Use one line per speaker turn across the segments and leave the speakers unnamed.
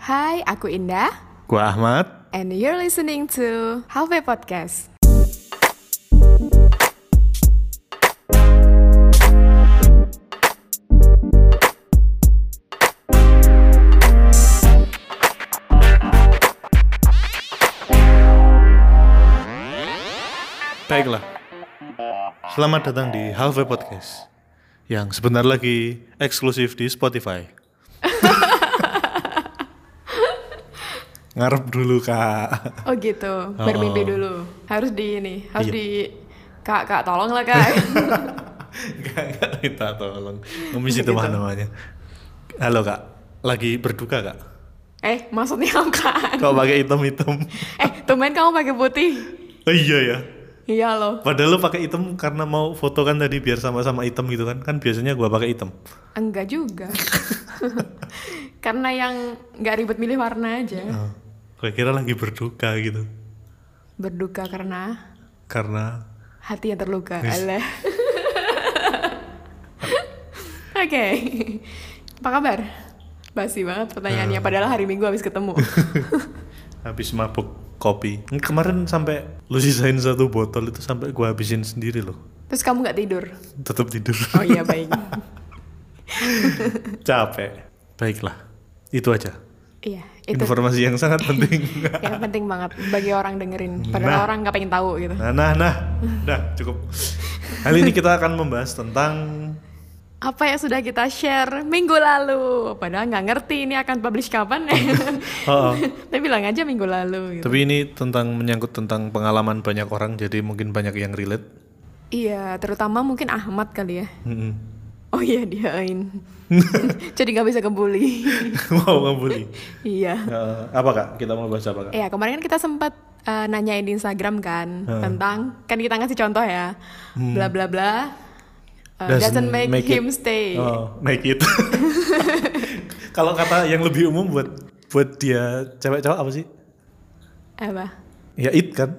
Hai, aku Indah
Gua Ahmad.
and you're listening to Halve Podcast.
Baiklah. Selamat datang di Halve Podcast yang sebentar lagi eksklusif di Spotify. Ngarep dulu kak.
Oh gitu, bermimpi
Oh.
dulu. Harus di ini, harus
Iya.
di Kak, Kak, tolong lah Kak.
Nggak, nggak, Kita tolong ngemis itu
Gitu.
mah namanya. Halo kak, lagi berduka kak?
eh, maksudnya apaan?
Kau pakai hitam hitam?
Eh, tumben kamu pakai putih.
Oh iya ya.
Iya loh.
Padahal lo pakai hitam karena mau foto kan tadi biar sama-sama hitam gitu kan? Kan biasanya gua pakai hitam.
Enggak juga. Karena yang nggak ribet milih warna aja.
Oh, Gue kira lagi berduka gitu
Berduka karena
karena
hati yang terluka.
Wis.
Alah. Oke. Apa kabar? Basi banget pertanyaannya
Eh.
padahal hari Minggu habis ketemu.
habis mabuk kopi Ini kemarin sampai lu sisain satu botol itu sampai gua habisin sendiri loh
Terus kamu nggak tidur?
tetap tidur
Oh iya baik.
capek baiklah itu aja
iya, itu
informasi yang sangat penting
yang penting banget bagi orang dengerin. Padahal
Nah.
orang nggak pengen tahu gitu.
nah nah nah nah cukup kali ini kita akan membahas tentang
Apa yang sudah kita share minggu lalu? Padahal nggak ngerti ini akan publish kapan. ya.
Oh, oh.
Tapi bilang aja minggu lalu. Gitu.
tapi ini tentang menyangkut tentang pengalaman banyak orang jadi mungkin banyak yang relate
Iya, terutama mungkin Ahmad kali ya.
Mm-mm.
Oh iya diain. Jadi nggak bisa kebuli.
mau ngebully
iya.
Eh, apa kak kita mau bahas apa kak
Iya, kemarin kan kita sempat eh, nanyain di Instagram kan tentang kan kita ngasih contoh ya. Bla bla bla. eh, doesn't, make,
Hmm. it-
him stay.
Oh, make it. Kalau kata yang lebih umum buat buat dia cewek cowok apa sih?
Apa?
Ya it kan.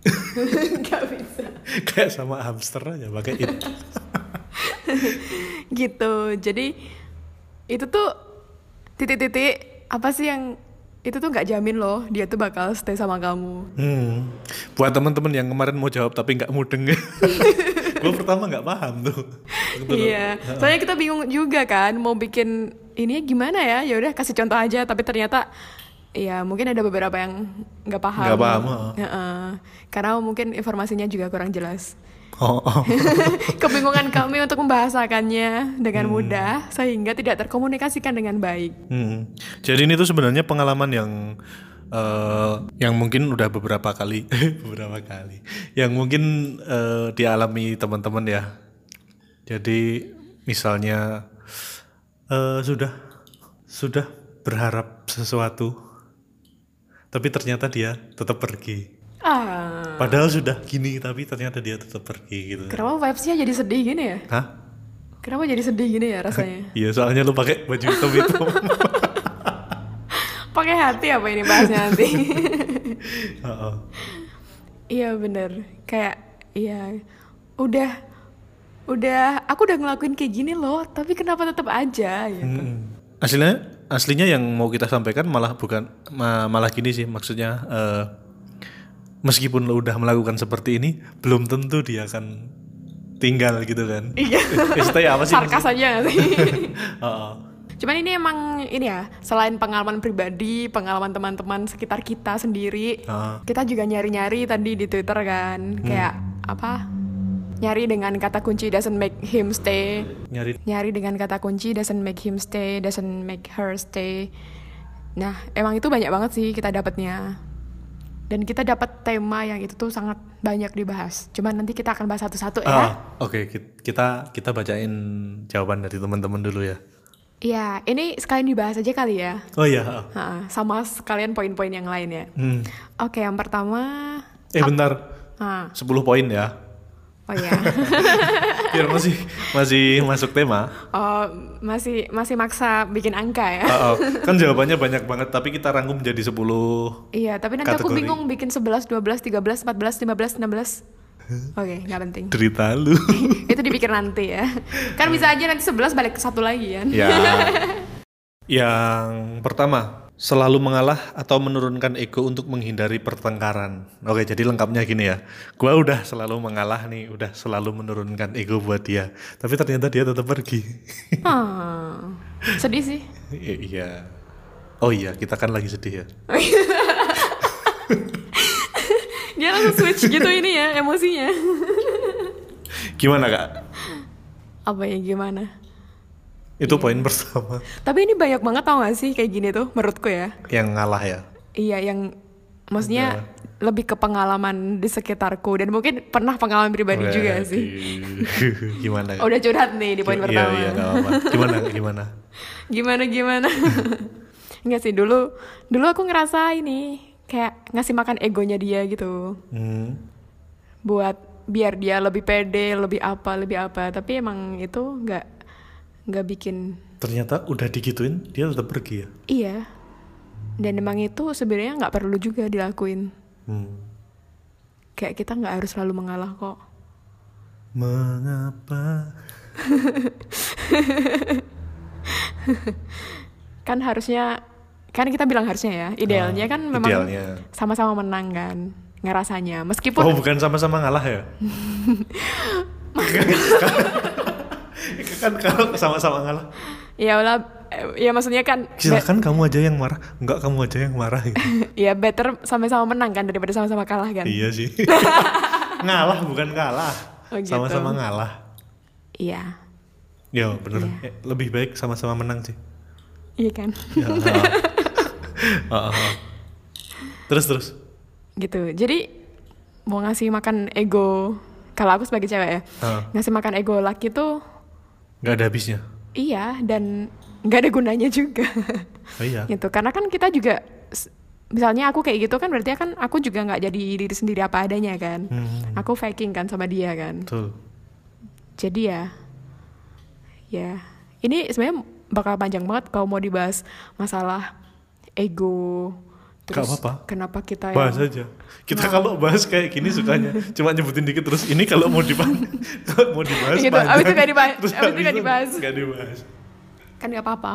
Nggak bisa.
Kayak sama hamster aja pakai it.
gitu jadi itu tuh titik-titik apa sih yang itu tuh nggak jamin loh dia tuh bakal stay sama kamu
Hmm. Buat teman-teman yang kemarin mau jawab tapi nggak mudeng. Gue pertama nggak paham tuh. Betul.
iya soalnya kita bingung juga kan mau bikin ini gimana ya ya udah kasih contoh aja tapi ternyata ya mungkin ada beberapa yang nggak paham
Nggak paham, heeh.
Heeh. karena mungkin informasinya juga kurang jelas
Oh, oh.
kebingungan kami untuk membahasakannya dengan mudah sehingga tidak terkomunikasikan dengan baik
Hmm. Jadi ini tuh sebenarnya pengalaman yang eh, yang mungkin udah beberapa kali, beberapa kali, yang mungkin eh, dialami teman-teman ya. Jadi misalnya eh, sudah sudah berharap sesuatu, tapi ternyata dia tetap pergi.
ah
Padahal sudah gini, tapi ternyata dia tetap pergi gitu.
kenapa vibes-nya jadi sedih gini ya
Hah?
Kenapa jadi sedih gini ya rasanya?
Iya, soalnya lu pakai baju hitam itu.
Pakai hati apa ini bahasnya nanti?
Heeh.
Iya bener, kayak iya udah udah aku udah ngelakuin kayak gini loh, tapi kenapa tetap aja
Hmm.
gitu.
Aslinya aslinya yang mau kita sampaikan malah bukan ma- malah gini sih maksudnya eh, meskipun lo udah melakukan seperti ini belum tentu dia akan tinggal gitu kan.
Iya.
Eh, stay apa sih?
Sarkas aja gak sih?
Heeh.
Cuman ini emang ini ya, selain pengalaman pribadi, pengalaman teman-teman sekitar kita sendiri,
Ah.
kita juga nyari-nyari tadi di Twitter kan, kayak apa? Nyari dengan kata kunci doesn't make him stay.
nyari
nyari dengan kata kunci doesn't make him stay, doesn't make her stay. Nah, emang itu banyak banget sih kita dapatnya. Dan kita dapat tema yang itu tuh sangat banyak dibahas. Cuman nanti kita akan bahas satu-satu ya.
Ah, oke ki- kita kita bacain jawaban dari teman-teman dulu ya.
Iya, ini sekalian dibahas aja kali ya.
Oh iya. heeh.
Ha, sama sekalian poin-poin yang lain ya.
Hmm.
Oke, yang pertama,
Eh bentar.
ah,
10 poin ya.
oh ya,
Biar masih masih masuk tema.
oh, masih masih maksa bikin angka ya.
Heeh. Kan jawabannya banyak banget tapi kita rangkum jadi 10
Iya, tapi nanti aku
Kategori.
bingung bikin 11, 12, 13, 14, 15, 16. Oke, nggak penting.
derita lu. Iya.
Ya. itu dipikir nanti ya kan bisa aja nanti 11 balik ke satu lagi kan
ya. Yang pertama, selalu mengalah atau menurunkan ego untuk menghindari pertengkaran. Oke, jadi lengkapnya gini ya. Gua udah selalu mengalah nih, udah selalu menurunkan ego buat dia. Tapi ternyata dia tetap pergi.
Hmm, sedih sih.
I- iya. Oh iya, kita kan lagi sedih ya.
Dia langsung switch gitu ini ya emosinya.
Gimana, Kak?
Apa ya gimana?
Itu poin
Iya.
pertama.
Tapi ini banyak banget tau gak sih kayak gini tuh menurutku ya.
Yang ngalah ya.
Iya yang
Iya.
maksudnya lebih ke pengalaman di sekitarku dan mungkin pernah pengalaman pribadi juga sih.
Gimana? Kak?
Udah curhat nih di poin
Iya,
pertama.
Iya, nggak apa-apa. Gimana? Gimana?
Gimana gimana? Enggak sih dulu dulu aku ngerasa ini kayak ngasih makan egonya dia gitu
Hmm.
buat biar dia lebih pede, lebih apa, lebih apa. Tapi emang itu nggak nggak bikin
Ternyata udah digituin, dia tetap pergi ya.
iya. Dan emang itu sebenarnya nggak perlu juga dilakuin.
Hmm.
Kayak kita nggak harus selalu mengalah kok.
Mengapa?
Kan harusnya kan kita bilang harusnya ya idealnya
Ah,
kan memang
idealnya.
sama-sama menang kan ngerasanya
Oh,
meskipun
bukan sama-sama ngalah ya? kan kalau sama-sama ngalah,
ya lah ya maksudnya kan be-
silakan kamu aja yang marah. Enggak, kamu aja yang marah. gitu.
ya better sama-sama menang kan daripada sama-sama kalah kan
iya sih. ngalah bukan kalah.
Oh, gitu.
Sama-sama ngalah.
iya
Ya, bener. Eh, lebih baik sama-sama menang sih.
iya kan
Ya, ah. Ah, ah, ah. Terus terus.
gitu jadi mau ngasih makan ego kalau aku sebagai cewek ya
Ah,
ngasih makan ego laki tuh
nggak ada habisnya.
iya dan nggak ada gunanya juga
Oh, iya.
gitu karena kan kita juga s- misalnya aku kayak gitu kan berarti kan aku juga nggak jadi diri sendiri apa adanya kan
Hmm,
aku faking kan sama dia kan
betul.
jadi ya ya ini sebenarnya bakal panjang banget kalau mau dibahas masalah ego terus
Nggak apa-apa.
kenapa kita yang-
bahas aja
Nah.
kita kalau bahas kayak gini sukanya cuma nyebutin dikit terus ini kalau mau dibahas kalau mau dibahas
Gitu,
panjang.
abis itu nggak dibahas-
Terus
abis itu nggak dibahas.
nggak dibahas.
kan nggak apa-apa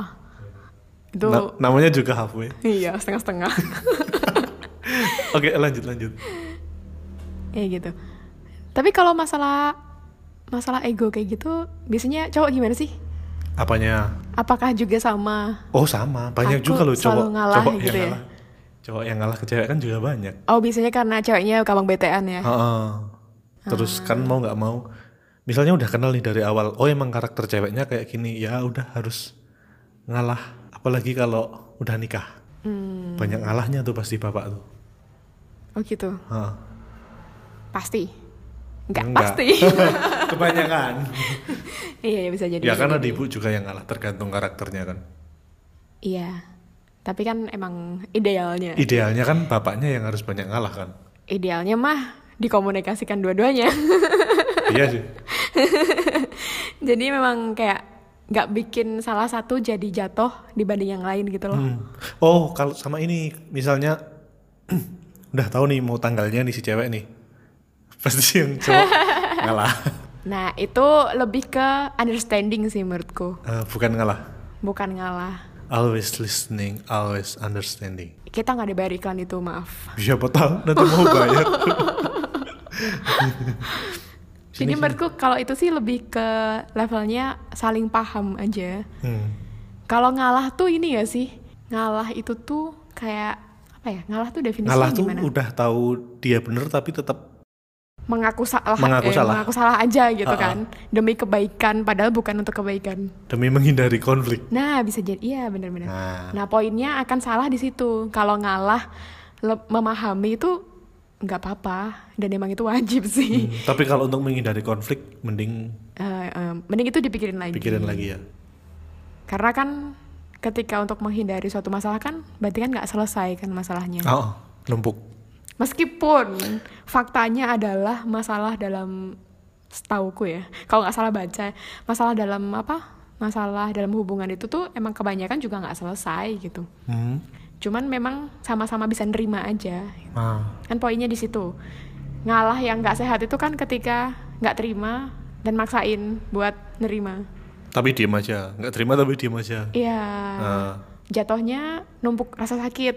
itu
Na- namanya juga halfway
iya setengah-setengah
oke lanjut lanjut
ya gitu tapi kalau masalah masalah ego kayak gitu biasanya cowok gimana sih
apanya
apakah juga sama
oh sama banyak
Aku
juga loh
selalu
cowok
ngalah
cowok
gitu
yang
ya.
ngalah cowok yang ngalah ke cewek kan juga banyak
oh biasanya karena ceweknya gampang BTN ya
Heeh. terus
Ah.
kan mau nggak mau misalnya udah kenal nih dari awal oh emang karakter ceweknya kayak gini ya udah harus ngalah apalagi kalau udah nikah
Hmm,
banyak ngalahnya tuh pasti bapak tuh
oh gitu
Heeh.
pasti nggak
Enggak.
pasti
kebanyakan
iya ya bisa jadi
ya
bisa
karena
jadi.
di ibu juga yang ngalah tergantung karakternya kan
Iya. Tapi kan emang idealnya.
idealnya kan bapaknya yang harus banyak ngalah kan
idealnya mah dikomunikasikan dua-duanya.
iya sih
jadi memang kayak nggak bikin salah satu jadi jatuh dibanding yang lain gitu loh.
Hmm. oh kalau sama ini misalnya udah tahu nih mau tanggalnya nih si cewek nih pasti yang cowok ngalah
Nah, itu lebih ke understanding sih menurutku,
Eh, bukan ngalah
bukan ngalah.
always listening always understanding
Kita nggak dibayar iklan itu, maaf.
siapa tahu nanti mau bayar
Jadi menurutku kalau itu sih lebih ke levelnya saling paham aja.
Hmm.
Kalau ngalah tuh ini ya sih, ngalah itu tuh kayak apa ya? Ngalah tuh definisinya
ngalah tuh
gimana?
udah tahu dia bener tapi tetap
mengaku salah,
Mengaku
eh,
salah.
mengaku salah aja gitu kan
Uh-uh.
demi kebaikan padahal bukan untuk kebaikan.
demi menghindari konflik
Nah bisa jadi iya benar-benar.
nah
Nah poinnya akan salah di situ kalau ngalah le- memahami itu nggak apa-apa dan emang itu wajib sih.
Hmm, tapi kalau untuk menghindari konflik, mending
Eh, eh, mending itu dipikirin lagi.
pikirin lagi ya.
Karena kan ketika untuk menghindari suatu masalah kan berarti kan nggak selesai kan masalahnya.
Oh, numpuk.
Meskipun faktanya adalah masalah dalam setauku ya, kalau nggak salah baca masalah dalam apa? Masalah dalam hubungan itu tuh emang kebanyakan juga nggak selesai gitu.
Hmm.
Cuman memang sama-sama bisa nerima aja.
Ah,
Kan poinnya di situ. Ngalah yang nggak sehat itu kan ketika nggak terima dan maksain buat nerima.
tapi diem aja nggak terima tapi diem aja
Iya.
Nah,
Jatuhnya numpuk rasa sakit.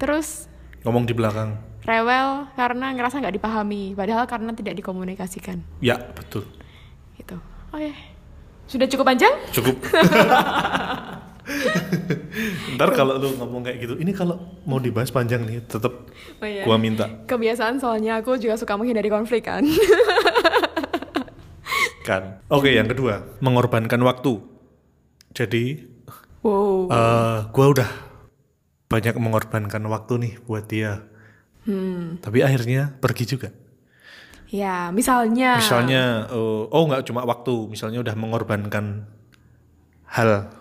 Terus
ngomong di belakang
rewel karena ngerasa nggak dipahami, padahal karena tidak dikomunikasikan.
ya betul
Gitu. Oke. Sudah cukup panjang?
cukup ntar kalau lu ngomong kayak gitu ini kalau mau dibahas panjang nih tetap
Oh iya.
gua minta
Kebiasaan soalnya aku juga suka menghindari konflik kan.
kan oke yang kedua mengorbankan waktu jadi
wow.
eh gua udah banyak mengorbankan waktu nih buat dia
Hmm.
tapi akhirnya pergi juga
Ya, misalnya.
misalnya eh, oh nggak cuma waktu misalnya udah mengorbankan hal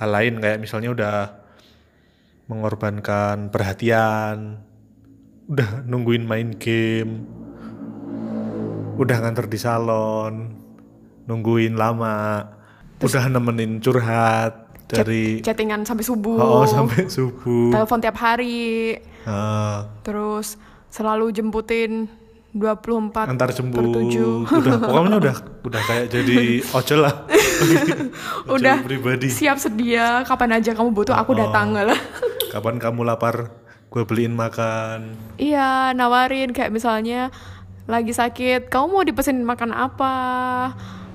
hal lain kayak misalnya udah mengorbankan perhatian udah nungguin main game udah nganter di salon nungguin lama udah nemenin curhat
Chat-
dari
chattingan sampai subuh.
oh, sampai subuh
Telepon tiap hari,
Ah,
terus selalu jemputin 24
antar
per
jemput
7.
udah pokoknya udah udah kayak jadi ojol lah Ojol
Udah
pribadi
siap sedia kapan aja kamu butuh
Oh.
aku datang lah.
kapan kamu lapar gue beliin makan
iya, nawarin kayak misalnya lagi sakit, kamu mau dipesenin makan apa?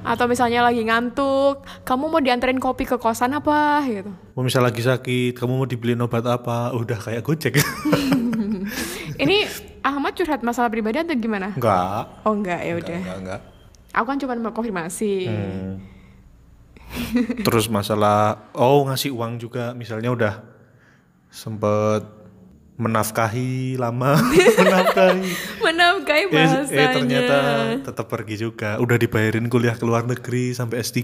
Atau misalnya lagi ngantuk, kamu mau dianterin kopi ke kosan apa gitu.
mau misal lagi sakit kamu mau dibeliin obat apa udah kayak gojek
Ini Ahmad curhat masalah pribadi atau gimana?
enggak
Oh enggak, ya udah.
enggak enggak
Aku kan cuma mau konfirmasi.
Hmm. terus masalah oh ngasih uang juga misalnya udah sempet menafkahi lama menafkahi
Menafkahi
eh,
bahasanya.
eh, ternyata tetap pergi juga udah dibayarin kuliah ke luar negeri sampai S3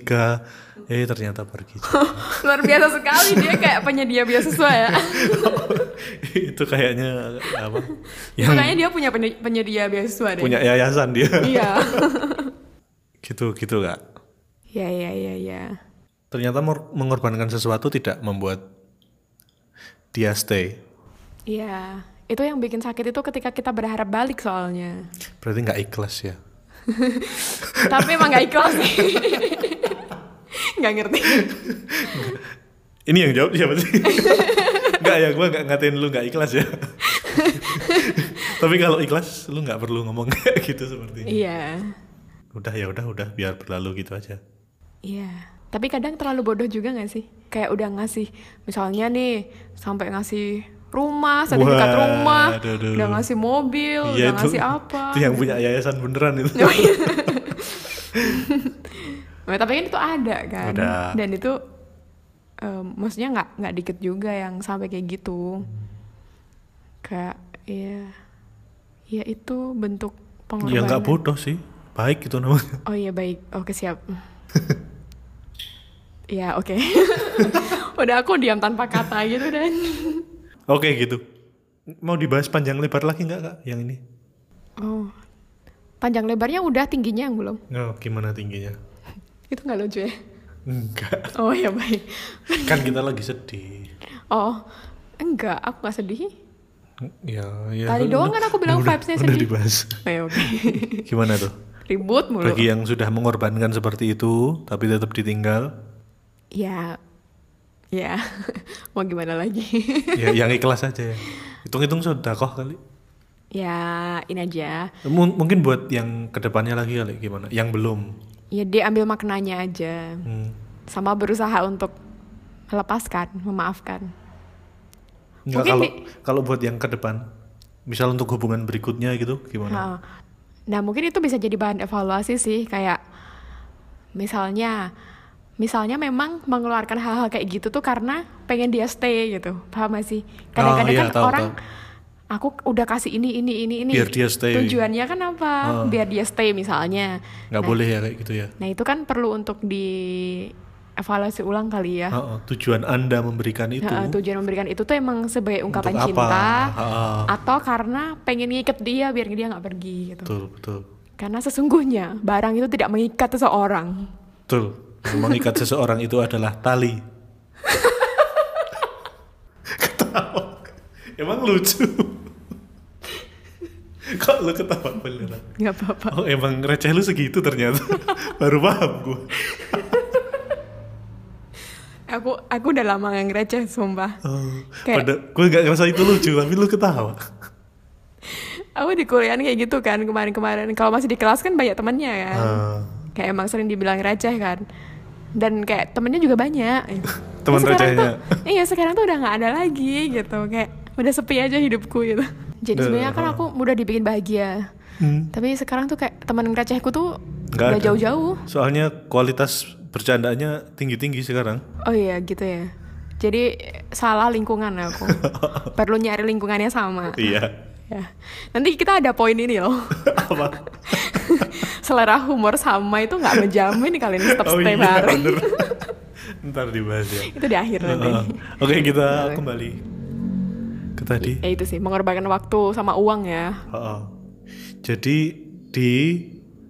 eh ternyata pergi juga.
Luar biasa sekali dia kayak penyedia beasiswa ya.
itu kayaknya apa yang
Makanya dia punya peny- penyedia beasiswa deh.
punya yayasan dia
Iya.
gitu gitu kak
Ya ya ya ya.
ternyata mor- mengorbankan sesuatu tidak membuat dia stay
Iya. Itu yang bikin sakit itu ketika kita berharap balik soalnya.
berarti nggak ikhlas ya
Tapi emang gak ikhlas sih. gak ngerti.
ini yang jawab siapa sih nggak ya gue nggak ngatain lu nggak ikhlas ya tapi kalau ikhlas lu nggak perlu ngomong kayak gitu sepertinya
Iya.
udah ya udah udah biar berlalu gitu aja
Iya. Tapi kadang terlalu bodoh juga gak sih? Kayak udah ngasih, misalnya nih, sampai ngasih rumah, sertifikat
Wah,
rumah,
aduh, aduh.
udah ngasih mobil,
Iya,
udah ngasih apa.
itu yang punya yayasan beneran itu
Oh, iya. Nah, tapi kan itu ada kan.
Ada.
Dan itu em, maksudnya nggak nggak dikit juga yang sampai kayak gitu. Kayak ya ya itu bentuk
ya
pengorbanan.
nggak bodoh sih baik itu namanya
Oh iya baik. Oke siap. ya oke. Udah aku diam tanpa kata gitu dan.
oke gitu mau dibahas panjang lebar lagi nggak kak yang ini
Oh. Panjang lebarnya udah, tingginya yang belum.
oh, gimana tingginya
Itu nggak lucu ya?
enggak
Oh ya baik.
kan kita lagi sedih
Oh, enggak, aku gak sedih.
ya, ya
Tadi
lu-
doang
lu-
kan aku bilang
ya udah,
vibes-nya
udah
sedih.
dibahas
Oh, ya, oke.
gimana tuh
Ribut mulu.
bagi yang sudah mengorbankan seperti itu tapi tetap ditinggal
Ya, ya, mau gimana lagi?
ya yang ikhlas aja ya hitung-hitung sodakoh kali
ya, ini aja.
M- mungkin buat yang kedepannya lagi kali gimana yang belum
Ya, dia ambil maknanya aja.
Hmm.
Sama berusaha untuk melepaskan, memaafkan.
Nggak,
Mungkin
kalau
di-
kalau buat yang ke depan misal untuk hubungan berikutnya gitu gimana
Ha. Nah, mungkin itu bisa jadi bahan evaluasi sih, kayak misalnya misalnya memang mengeluarkan hal-hal kayak gitu tuh karena pengen dia stay gitu. Paham gak sih? Kadang-kadang
iya,
kan
tahu,
orang
tahu.
aku udah kasih ini ini ini ini.
Biar dia stay. Oh.
Tujuannya kan apa? Biar dia stay misalnya.
nggak boleh ya kayak gitu ya
Nah, itu kan perlu untuk di evaluasi ulang kali ya.
Ha-ha, tujuan anda memberikan itu
Nah, tujuan memberikan itu tuh emang sebagai ungkapan
gitu. apa?
cinta
Ha-ha.
atau karena pengen ngikat dia biar dia nggak pergi gitu.
betul betul
Karena sesungguhnya barang itu tidak mengikat seseorang.
betul Yang mengikat seseorang itu adalah tali ketawa emang lucu kok lu ketawa beneran
Nggak apa-apa.
oh emang receh lu segitu ternyata baru paham gue
aku udah lama nggak ngereceh sumpah
Oh,
Kayak-
pada gue gak ngerasa itu lucu tapi lu ketawa
aku di kuliah kayak gitu kan kemarin-kemarin kalau masih di kelas kan banyak temennya kan
Ah.
kayak emang sering dibilang receh kan dan kayak temennya juga banyak
Teman
Nah, sekarang
recehnya.
tuh- iya sekarang tuh udah nggak ada lagi gitu kayak udah sepi aja hidupku gitu jadi
Duh.
sebenarnya kan aku mudah dibikin bahagia
Hmm.
tapi sekarang tuh kayak teman recehku tuh
Nggak
nggak
ada.
jauh-jauh
soalnya kualitas bercandaannya tinggi-tinggi sekarang
oh iya gitu ya jadi salah lingkungan aku perlu nyari lingkungan yang sama
iya
ya nanti kita ada poin ini loh
apa
selera humor sama itu nggak menjamin kalian tetap
iya.
stay bareng
Oh, bener. ntar dibahas ya
itu di akhir nanti
Heeh. oke kita
Boleh.
kembali ke tadi
ya itu sih mengorbankan waktu sama uang ya
Heeh. jadi di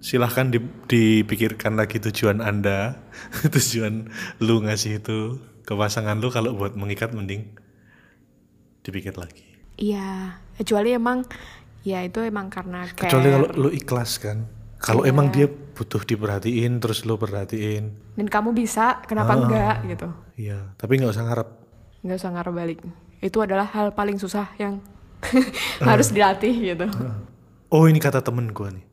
silahkan di- dipikirkan lagi tujuan anda tujuan lu ngasih itu ke pasangan lu kalau buat mengikat mending dipikir lagi
iya kecuali emang ya itu emang karena kayak
kecuali kalau lu ikhlas kan kalau emang dia butuh diperhatiin terus lu perhatiin
dan kamu bisa
Ah.
kenapa enggak gitu
iya tapi nggak usah ngarep
nggak usah ngarep balik itu adalah hal paling susah yang harus dilatih gitu
oh ini kata temen gua nih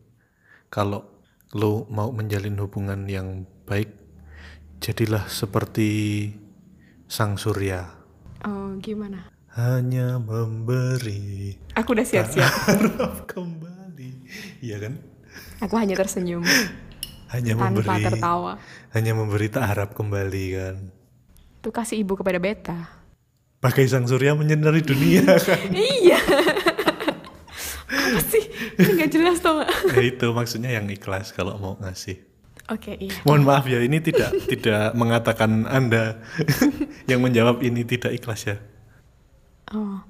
kalau lu mau menjalin hubungan yang baik jadilah seperti sang surya
oh gimana
hanya memberi
aku udah siap-siap
harap kembali iya kan
aku hanya tersenyum
hanya
tanpa
memberi
tertawa
hanya memberi tak harap kembali kan
itu kasih ibu kepada beta
pakai sang surya menyinari dunia kan
iya apa sih Ini nggak jelas tau nggak?
Ya itu maksudnya yang ikhlas kalau mau ngasih
oke iya
mohon maaf ya ini tidak tidak mengatakan anda yang menjawab ini tidak ikhlas ya
oh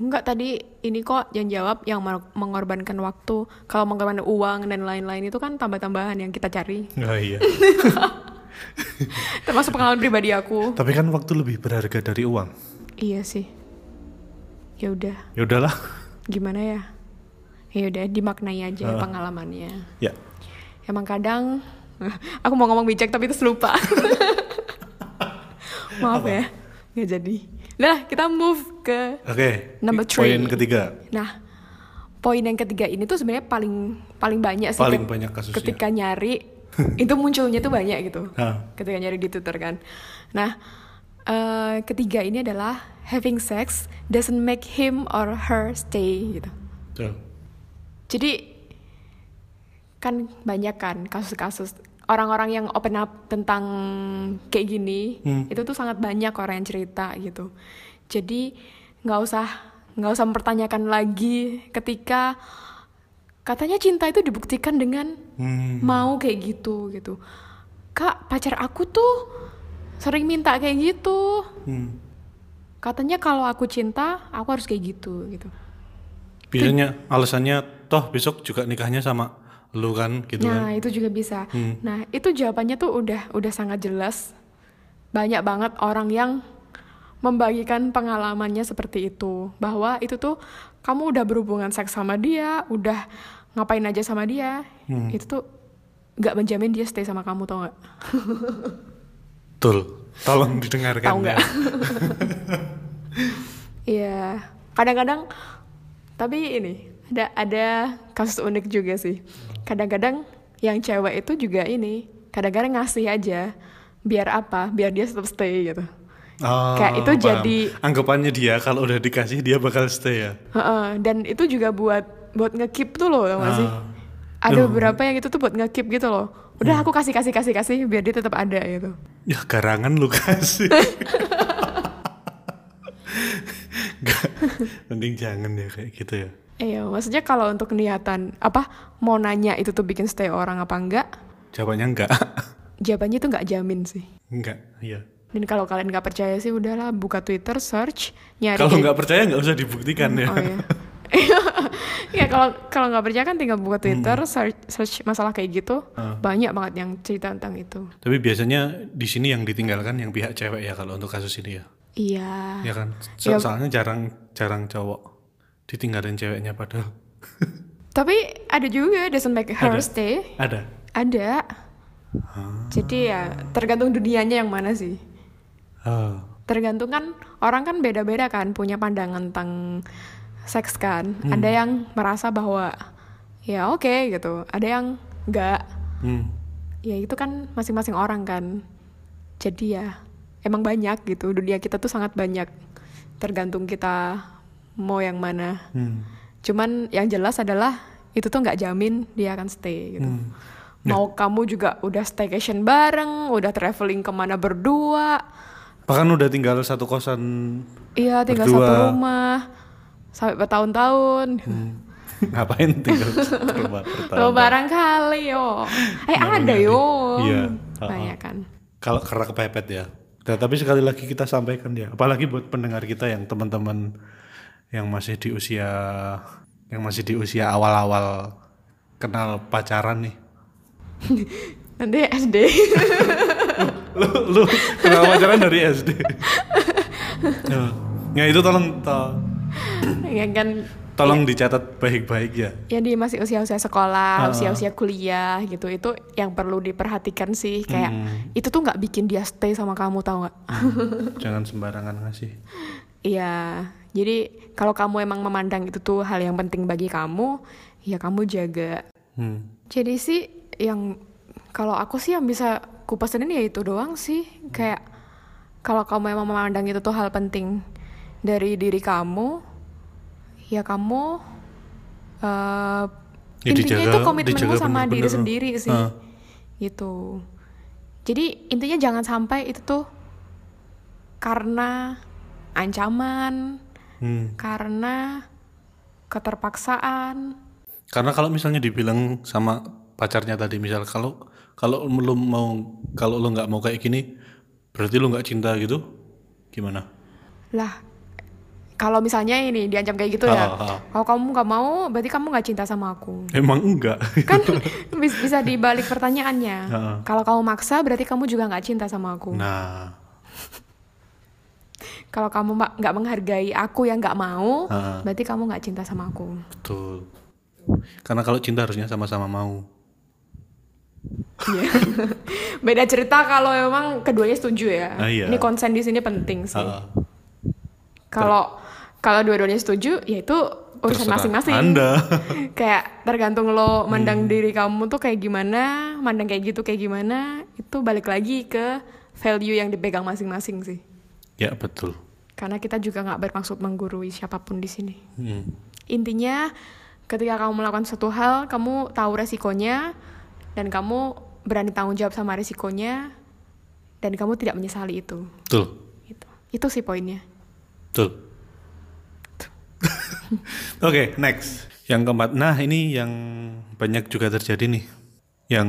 Enggak tadi ini kok yang jawab yang mer- mengorbankan waktu kalau mengorbankan uang dan lain-lain itu kan tambah-tambahan yang kita cari
oh iya
termasuk pengalaman pribadi aku
tapi kan waktu lebih berharga dari uang
Iya sih. Ya udah,
ya udahlah
gimana ya? Ya udah dimaknai aja pengalamannya.
ya
Emang kadang aku mau ngomong bijak tapi terus lupa. Maaf ya, nggak jadi. Nah, kita move ke
oke
Number
poin
three.
ketiga
nah poin yang ketiga ini tuh sebenarnya paling paling banyak sih
Paling
ket-
banyak kasusnya.
ketika nyari itu munculnya tuh banyak gitu
Hah.
ketika nyari di Twitter kan. Nah, eh, ketiga ini adalah having sex doesn't make him or her stay gitu.
Tuh.
Jadi kan banyak kan kasus-kasus orang-orang yang open up tentang kayak gini
Hmm.
itu tuh sangat banyak orang yang cerita gitu. Jadi nggak usah nggak usah mempertanyakan lagi ketika katanya cinta itu dibuktikan dengan
Hmm.
mau kayak gitu gitu kak pacar aku tuh sering minta kayak gitu
Hmm.
katanya kalau aku cinta aku harus kayak gitu gitu
biasanya alasannya toh besok juga nikahnya sama lu kan gitu
nah
kan Hmm.
itu juga bisa nah itu jawabannya tuh udah udah sangat jelas banyak banget orang yang membagikan pengalamannya seperti itu bahwa itu tuh kamu udah berhubungan seks sama dia udah ngapain aja sama dia
Hmm.
itu tuh nggak menjamin dia stay sama kamu tau gak?
betul tolong didengarkan
Tahu nggak?
ya.
Iya, kadang-kadang tapi ini ada ada kasus unik juga sih. Kadang-kadang yang cewek itu juga ini, kadang-kadang ngasih aja biar apa? Biar dia tetap stay gitu.
Ah,
Kayak itu
paham.
jadi-
anggapannya dia kalau udah dikasih dia bakal stay ya
Heeh, dan itu juga buat buat ngekip tuh loh, tau gak sih?
Ah.
Ada
Loh.
beberapa yang itu tuh buat ngekip gitu loh. Udah aku kasih kasih kasih kasih biar dia tetap ada gitu.
Ya garangan lu kasih. Nggak, mending jangan ya kayak gitu ya.
Iya, maksudnya kalau untuk niatan apa mau nanya itu tuh bikin stay orang apa enggak?
Jawabannya enggak.
Jawabannya tuh nggak jamin sih.
enggak, iya.
Dan kalau kalian nggak percaya sih udahlah buka Twitter search nyari.
Kalau
kayak-
nggak percaya nggak usah dibuktikan ya.
Oh iya. ya kalau kalau nggak percaya kan tinggal buka Twitter search search masalah kayak gitu
Ah.
banyak banget yang cerita tentang itu.
Tapi biasanya di sini yang ditinggalkan yang pihak cewek ya kalau untuk kasus ini ya.
Iya.
Ya kan?
Ya.
So- Soalnya jarang jarang cowok ditinggalin ceweknya padahal
Tapi ada juga doesn't make her
Ada. Ah.
stay.
ada.
Ada. Jadi ya tergantung dunianya yang mana sih.
Ah,
tergantung kan orang kan beda-beda kan punya pandangan tentang seks kan ada yang merasa bahwa ya oke gitu ada yang enggak
hmm.
ya itu kan masing-masing orang kan jadi ya emang banyak gitu dunia kita tuh sangat banyak tergantung kita mau yang mana
Hmm.
cuman yang jelas adalah itu tuh nggak jamin dia akan stay gitu
Hmm.
mau kamu juga udah staycation bareng udah traveling kemana berdua
Bahkan udah tinggal satu kosan.
Iya tinggal
Berdua.
satu rumah sampai bertahun-tahun.
Hmm. Ngapain tinggal satu rumah bertahun-tahun?
Lo barangkali yo. Eh ada yo.
Iya. Ha-ha.
Banyak kan.
Kalau karena kepepet ya. Nah, tapi sekali lagi kita sampaikan ya, apalagi buat pendengar kita yang teman-teman yang masih di usia yang masih di usia awal-awal kenal pacaran nih.
Nanti SD.
lu lu kenal pacaran dari SD. Nah, ya itu tolong to-
ya kan.
tolong dicatat baik-baik ya.
Ya di masih usia-usia sekolah, usia-usia kuliah gitu. Itu yang perlu diperhatikan sih. Kayak
Hmm.
itu tuh nggak bikin dia stay sama kamu tau nggak?
Jangan sembarangan ngasih.
Iya. Jadi kalau kamu emang memandang itu tuh hal yang penting bagi kamu, ya kamu jaga.
Hmm.
Jadi sih yang kalau aku sih yang bisa kupesenin ya itu doang sih.
Hmm.
Kayak kalau kamu emang memandang itu tuh hal penting dari diri kamu, ya kamu eh
Ya,
intinya
dijaga-
itu komitmenmu
dijaga
sama diri
bener-bener.
sendiri sih.
Ah.
Gitu. Jadi intinya jangan sampai itu tuh karena ancaman,
Hmm.
karena keterpaksaan,
Karena kalau misalnya dibilang sama pacarnya tadi misal kalau kalau lu mau kalau lu nggak mau kayak gini berarti lu nggak cinta gitu gimana?
lah kalau misalnya ini diancam kayak gitu
Ah,
ya
ah.
kalau kamu nggak mau berarti kamu nggak cinta sama aku
Emang enggak.
kan bis- bisa dibalik pertanyaannya
Ah, ah.
kalau kamu maksa berarti kamu juga nggak cinta sama aku
Nah,
kalau kamu ma- nggak menghargai aku yang nggak mau
Ah.
berarti kamu nggak cinta sama aku
betul. Karena kalau cinta harusnya sama-sama mau.
Iya. beda cerita kalau emang keduanya setuju ya
Ah, iya.
ini konsen di sini penting sih
Ah,
kalau kalau dua-duanya setuju ya itu urusan
terserah
masing-masing
Anda.
kayak tergantung lo mandang diri kamu tuh kayak gimana, mandang kayak gitu kayak gimana, itu balik lagi ke value yang dipegang masing-masing sih.
ya betul.
Karena kita juga nggak bermaksud menggurui siapapun di sini.
Hmm.
Intinya ketika kamu melakukan suatu hal, kamu tahu resikonya dan kamu berani tanggung jawab sama resikonya dan kamu tidak menyesali itu.
Betul.
Gitu. Itu sih poinnya.
Betul. Oke, next. Yang keempat. Nah, ini yang banyak juga terjadi nih. Yang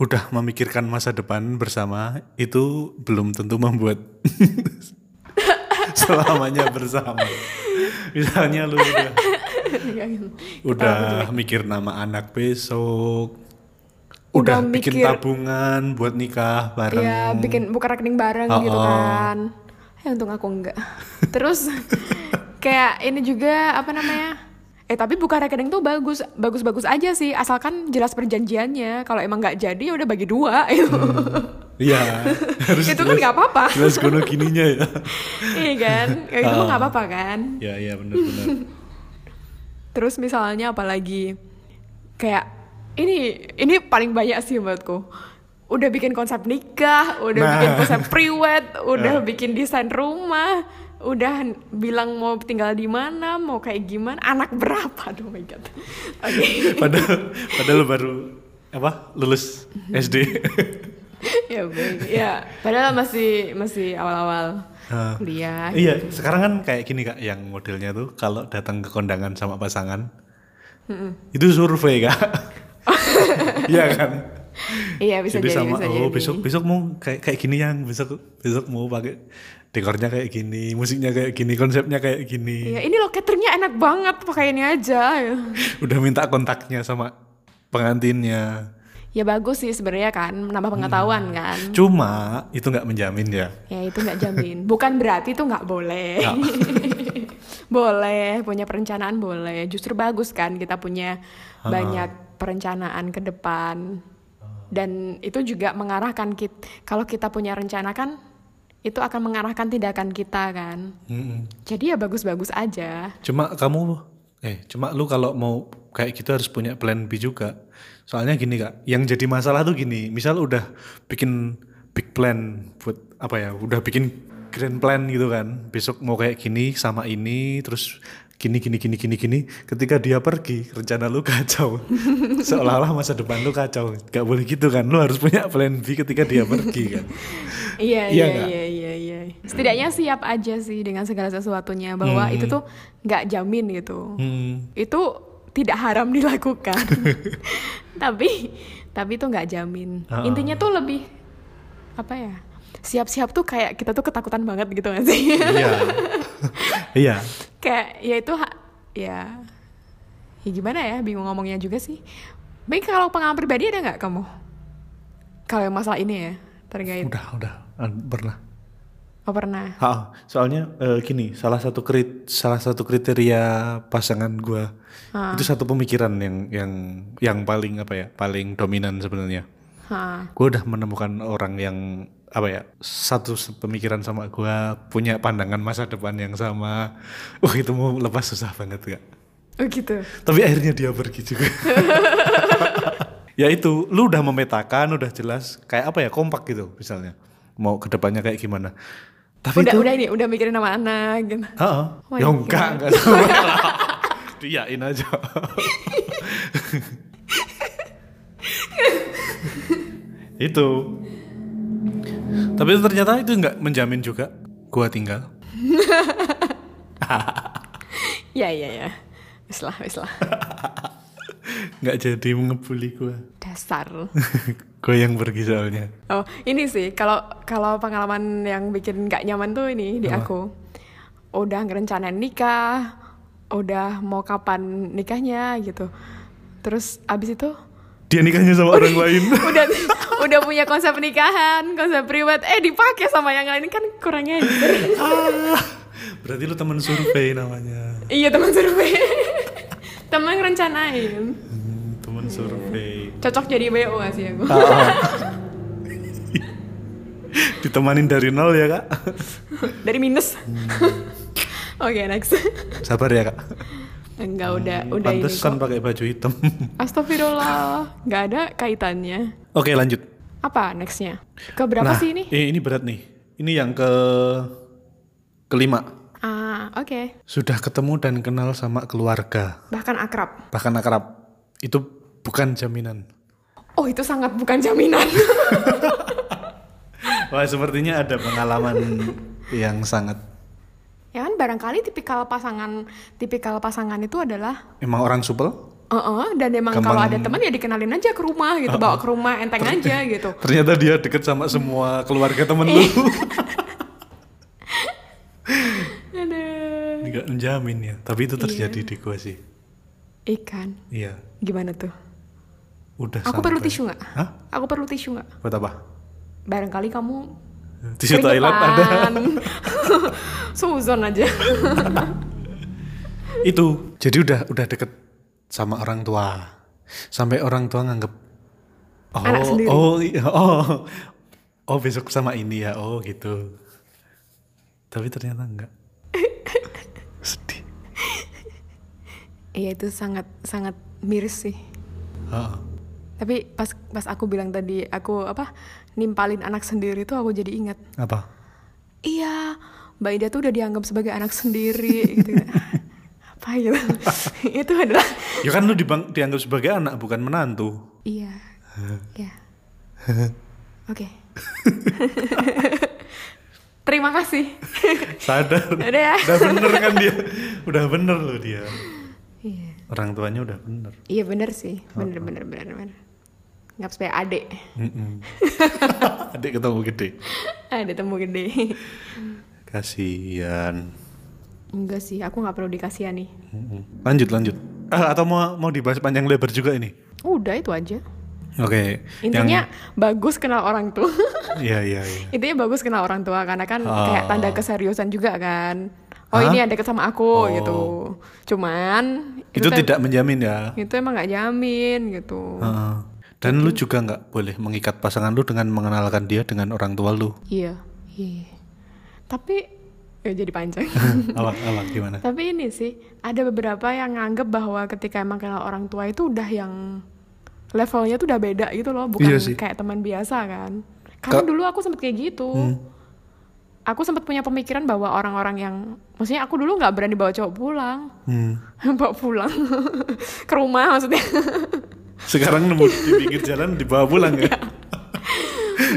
udah memikirkan masa depan bersama itu belum tentu membuat selamanya bersama. Misalnya lu udah
gitu.
udah mikir nama anak besok,
Udah
udah, bikin
mikir-
tabungan buat nikah bareng.
Iya, bikin buka rekening bareng gitu
Oh, oh.
kan. Eh untung aku enggak. Terus kayak ini juga apa namanya? Eh tapi buka rekening tuh bagus, bagus-bagus aja sih, asalkan jelas perjanjiannya. Kalau emang nggak jadi ya udah bagi dua. gitu.
Iya, harus
itu kan
jelas-
nggak apa-apa,
Jelas kono gininya ya.
iya kan? Ya, itu mah nggak apa-apa kan.
Ya iya benar-benar.
Terus misalnya apalagi kayak ini ini paling banyak sih menurutku. Udah bikin konsep nikah, udah
Nah.
bikin konsep priwet, udah bikin desain rumah, udah n- bilang mau tinggal di mana, mau kayak gimana, anak berapa, aduh my god. Oke.
padahal padahal lu baru apa lulus SD.
ya baik. Ya, padahal masih masih awal-awal
Ah.
kuliah.
iya, sekarang kan kayak gini Kak yang modelnya tuh kalau datang ke kondangan sama pasangan. Itu survei Kak. Iya kan?
Iya, bisa jadi,
sama
bisa jadi.
oh besok besok mau kayak kayak gini yang besok besok mau pakai dekornya kayak gini, musiknya kayak gini, konsepnya kayak gini.
Iya, ini loh cateringnya enak banget, pakai ini aja. Iya.
Udah minta kontaknya sama pengantinnya.
Ya bagus sih sebenarnya kan, menambah
Hmm.
pengetahuan kan.
Cuma itu nggak menjamin ya.
Ya itu nggak jamin. Bukan berarti itu nggak boleh.
Nggak.
boleh, punya perencanaan boleh. Justru bagus kan kita punya banyak perencanaan ke depan. Dan itu juga mengarahkan kita. Kalau kita punya rencana kan itu akan mengarahkan tindakan kita kan.
Mm-mm.
Jadi ya bagus-bagus aja.
Cuma kamu eh cuma lu kalau mau kayak gitu harus punya plan B juga. Soalnya gini Kak, yang jadi masalah tuh gini, misal udah bikin big plan buat apa ya, udah bikin grand plan gitu kan. Besok mau kayak gini sama ini terus gini gini gini gini gini ketika dia pergi rencana lu kacau seolah-olah masa depan lu kacau gak boleh gitu kan lu harus punya plan B ketika dia pergi kan
Iya
Iya
iya
nggak?
iya iya iya. Setidaknya siap aja sih dengan segala sesuatunya bahwa itu tuh nggak jamin gitu.
Hmm,
Itu tidak haram dilakukan. tapi tapi itu nggak jamin.
Ah.
Intinya tuh lebih apa ya? Siap-siap tuh kayak kita tuh ketakutan banget gitu nggak sih?
iya iya
kayak ya itu ha- ya ya gimana ya bingung ngomongnya juga sih baik kalau pengalaman pribadi ada nggak kamu kalau yang masalah ini ya terkait
udah udah an- pernah
oh pernah
Ha, soalnya eh, gini, salah satu krit, salah satu kriteria pasangan gua itu satu pemikiran yang yang yang paling apa ya, paling dominan sebenarnya.
ha
Gua udah menemukan orang yang apa ya, satu se- pemikiran sama gua, punya pandangan masa depan yang sama. Wah, itu mau lepas susah banget gak?
oh gitu
Tapi akhirnya dia pergi juga. ya itu, lu udah memetakan, udah jelas kayak apa ya, kompak gitu misalnya. Mau kedepannya kayak gimana. Tapi
udah
itu
udah ini udah mikirin nama anak gitu
Heeh.
Wah,
Ya
iya.
enggak, enggak sama. Diyain aja. itu. Tapi itu ternyata itu enggak menjamin juga gua tinggal.
ya ya ya wis lah wis lah
Enggak jadi ngebully gua.
dasar
gua yang pergi soalnya.
Oh, ini sih kalau kalau pengalaman yang bikin nggak nyaman tuh ini di aku. Udah ngerencanain nikah, udah mau kapan nikahnya gitu. Terus abis itu
Dia nikahnya sama orang lain.
udah udah punya konsep nikahan, konsep priwet, eh dipakai sama yang lain kan kurangnya.
Ah, Berarti lu teman survei namanya.
iya teman survei. teman rencanain.
Hmm, teman survei.
Cocok jadi BO gak sih aku?
Ditemanin dari nol ya, Kak.
Dari minus. Oke, next.
Sabar ya, Kak.
Enggak udah udah ini
Pantesan
kok.
pakai baju hitam.
Astagfirullah, nggak ada kaitannya.
Oke, lanjut.
Apa nextnya? Keberapa
Nah,
sih ini?
eh, ini berat nih. Ini yang ke kelima.
Ah, oke.
Sudah ketemu dan kenal sama keluarga,
Bahkan akrab.
bahkan akrab. Itu bukan jaminan.
Oh, itu sangat bukan jaminan.
Wah, sepertinya ada pengalaman yang sangat
ya kan barangkali tipikal pasangan tipikal pasangan itu adalah
emang orang supel.
eh dan emang
Gampang-
kalau ada teman ya dikenalin aja ke rumah gitu, bawa
Uh-uh.
ke rumah enteng aja gitu.
Ternyata dia deket sama semua keluarga temen lu.
Aduh.
Enggak menjamin ya, tapi
Iya.
itu terjadi di gua sih.
Ikan.
Iya,
Gimana tuh?
udah
Aku perlu
sampai.
tisu nggak?
Hah?
Aku perlu tisu nggak?
Buat apa?
Barangkali kamu
Tisu Thailand ada.
Suzon aja.
itu jadi udah udah deket sama orang tua sampai orang tua nganggep oh
Anak sendiri.
oh iya, oh oh besok sama ini ya oh gitu tapi ternyata enggak sedih
Iya itu sangat sangat miris sih.
Heeh.
Tapi pas pas aku bilang tadi aku apa nimpalin anak sendiri tuh aku jadi ingat.
apa
Iya, Mbak Ida tuh udah dianggap sebagai anak sendiri gitu. apa gitu. itu adalah
ya kan lu dibang- dianggap sebagai anak bukan menantu
iya. Iya. Oke. Terima kasih.
sadar
Udah ya.
udah bener kan dia udah bener loh dia
Iya.
orang tuanya udah bener
Iya bener sih. Bener bener bener bener. Nggak ya, sebagai adik.
Mm-mm. adik ketemu gede
Ada temu gede.
kasihan
Enggak sih, aku nggak perlu dikasihani.
Mm-mm. Lanjut lanjut. Ah, atau mau mau dibahas panjang lebar juga ini.
Udah itu aja.
Oke.
Intinya bagus kenal orang tua.
Yang, iya iya. iya.
Intinya bagus kenal orang tua karena kan
Ah.
kayak tanda keseriusan juga kan. Oh
Hah?
ini yang deket sama aku
Oh.
gitu. Cuman
Itu,
tem-
tidak menjamin ya.
itu emang nggak jamin gitu.
Heeh. Dan lu juga nggak boleh mengikat pasangan lu dengan mengenalkan dia dengan orang tua lu.
Iya. Iya. Tapi ya jadi panjang.
awak awak gimana
Tapi ini sih ada beberapa yang nganggep bahwa ketika emang kenal orang tua itu udah yang levelnya tuh udah beda gitu loh, bukan
Iya sih.
kayak teman biasa kan. Karena
Ka- Hmm.
dulu aku sempet kayak gitu. Aku sempet punya pemikiran bahwa orang-orang yang maksudnya aku dulu nggak berani bawa cowok pulang,
Hmm.
bawa pulang ke rumah maksudnya.
sekarang nemu di pinggir jalan dibawa pulang ya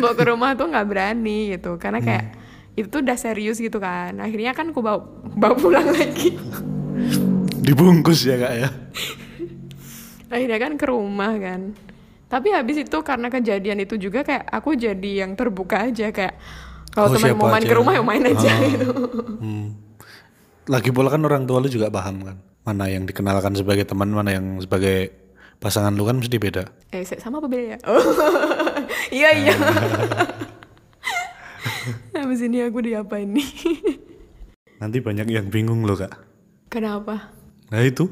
bawa ke rumah tuh nggak berani gitu karena kayak
Hmm.
itu tuh udah serius gitu kan akhirnya kan aku bawa bawa pulang lagi
dibungkus ya kak ya
akhirnya kan ke rumah kan tapi habis itu karena kejadian itu juga kayak aku jadi yang terbuka aja kayak kalau
Oh,
teman
siapa
mau main ke
aja.
rumah ya main aja
Ah.
gitu
Hmm. Lagi pula kan orang tua lu juga paham kan. Mana yang dikenalkan sebagai teman, mana yang sebagai pasangan lu kan mesti beda.
eh se- sama apa beda ya Oh, iya iya habis ini aku diapain nih
Nanti banyak yang bingung lo kak.
kenapa
Nah itu.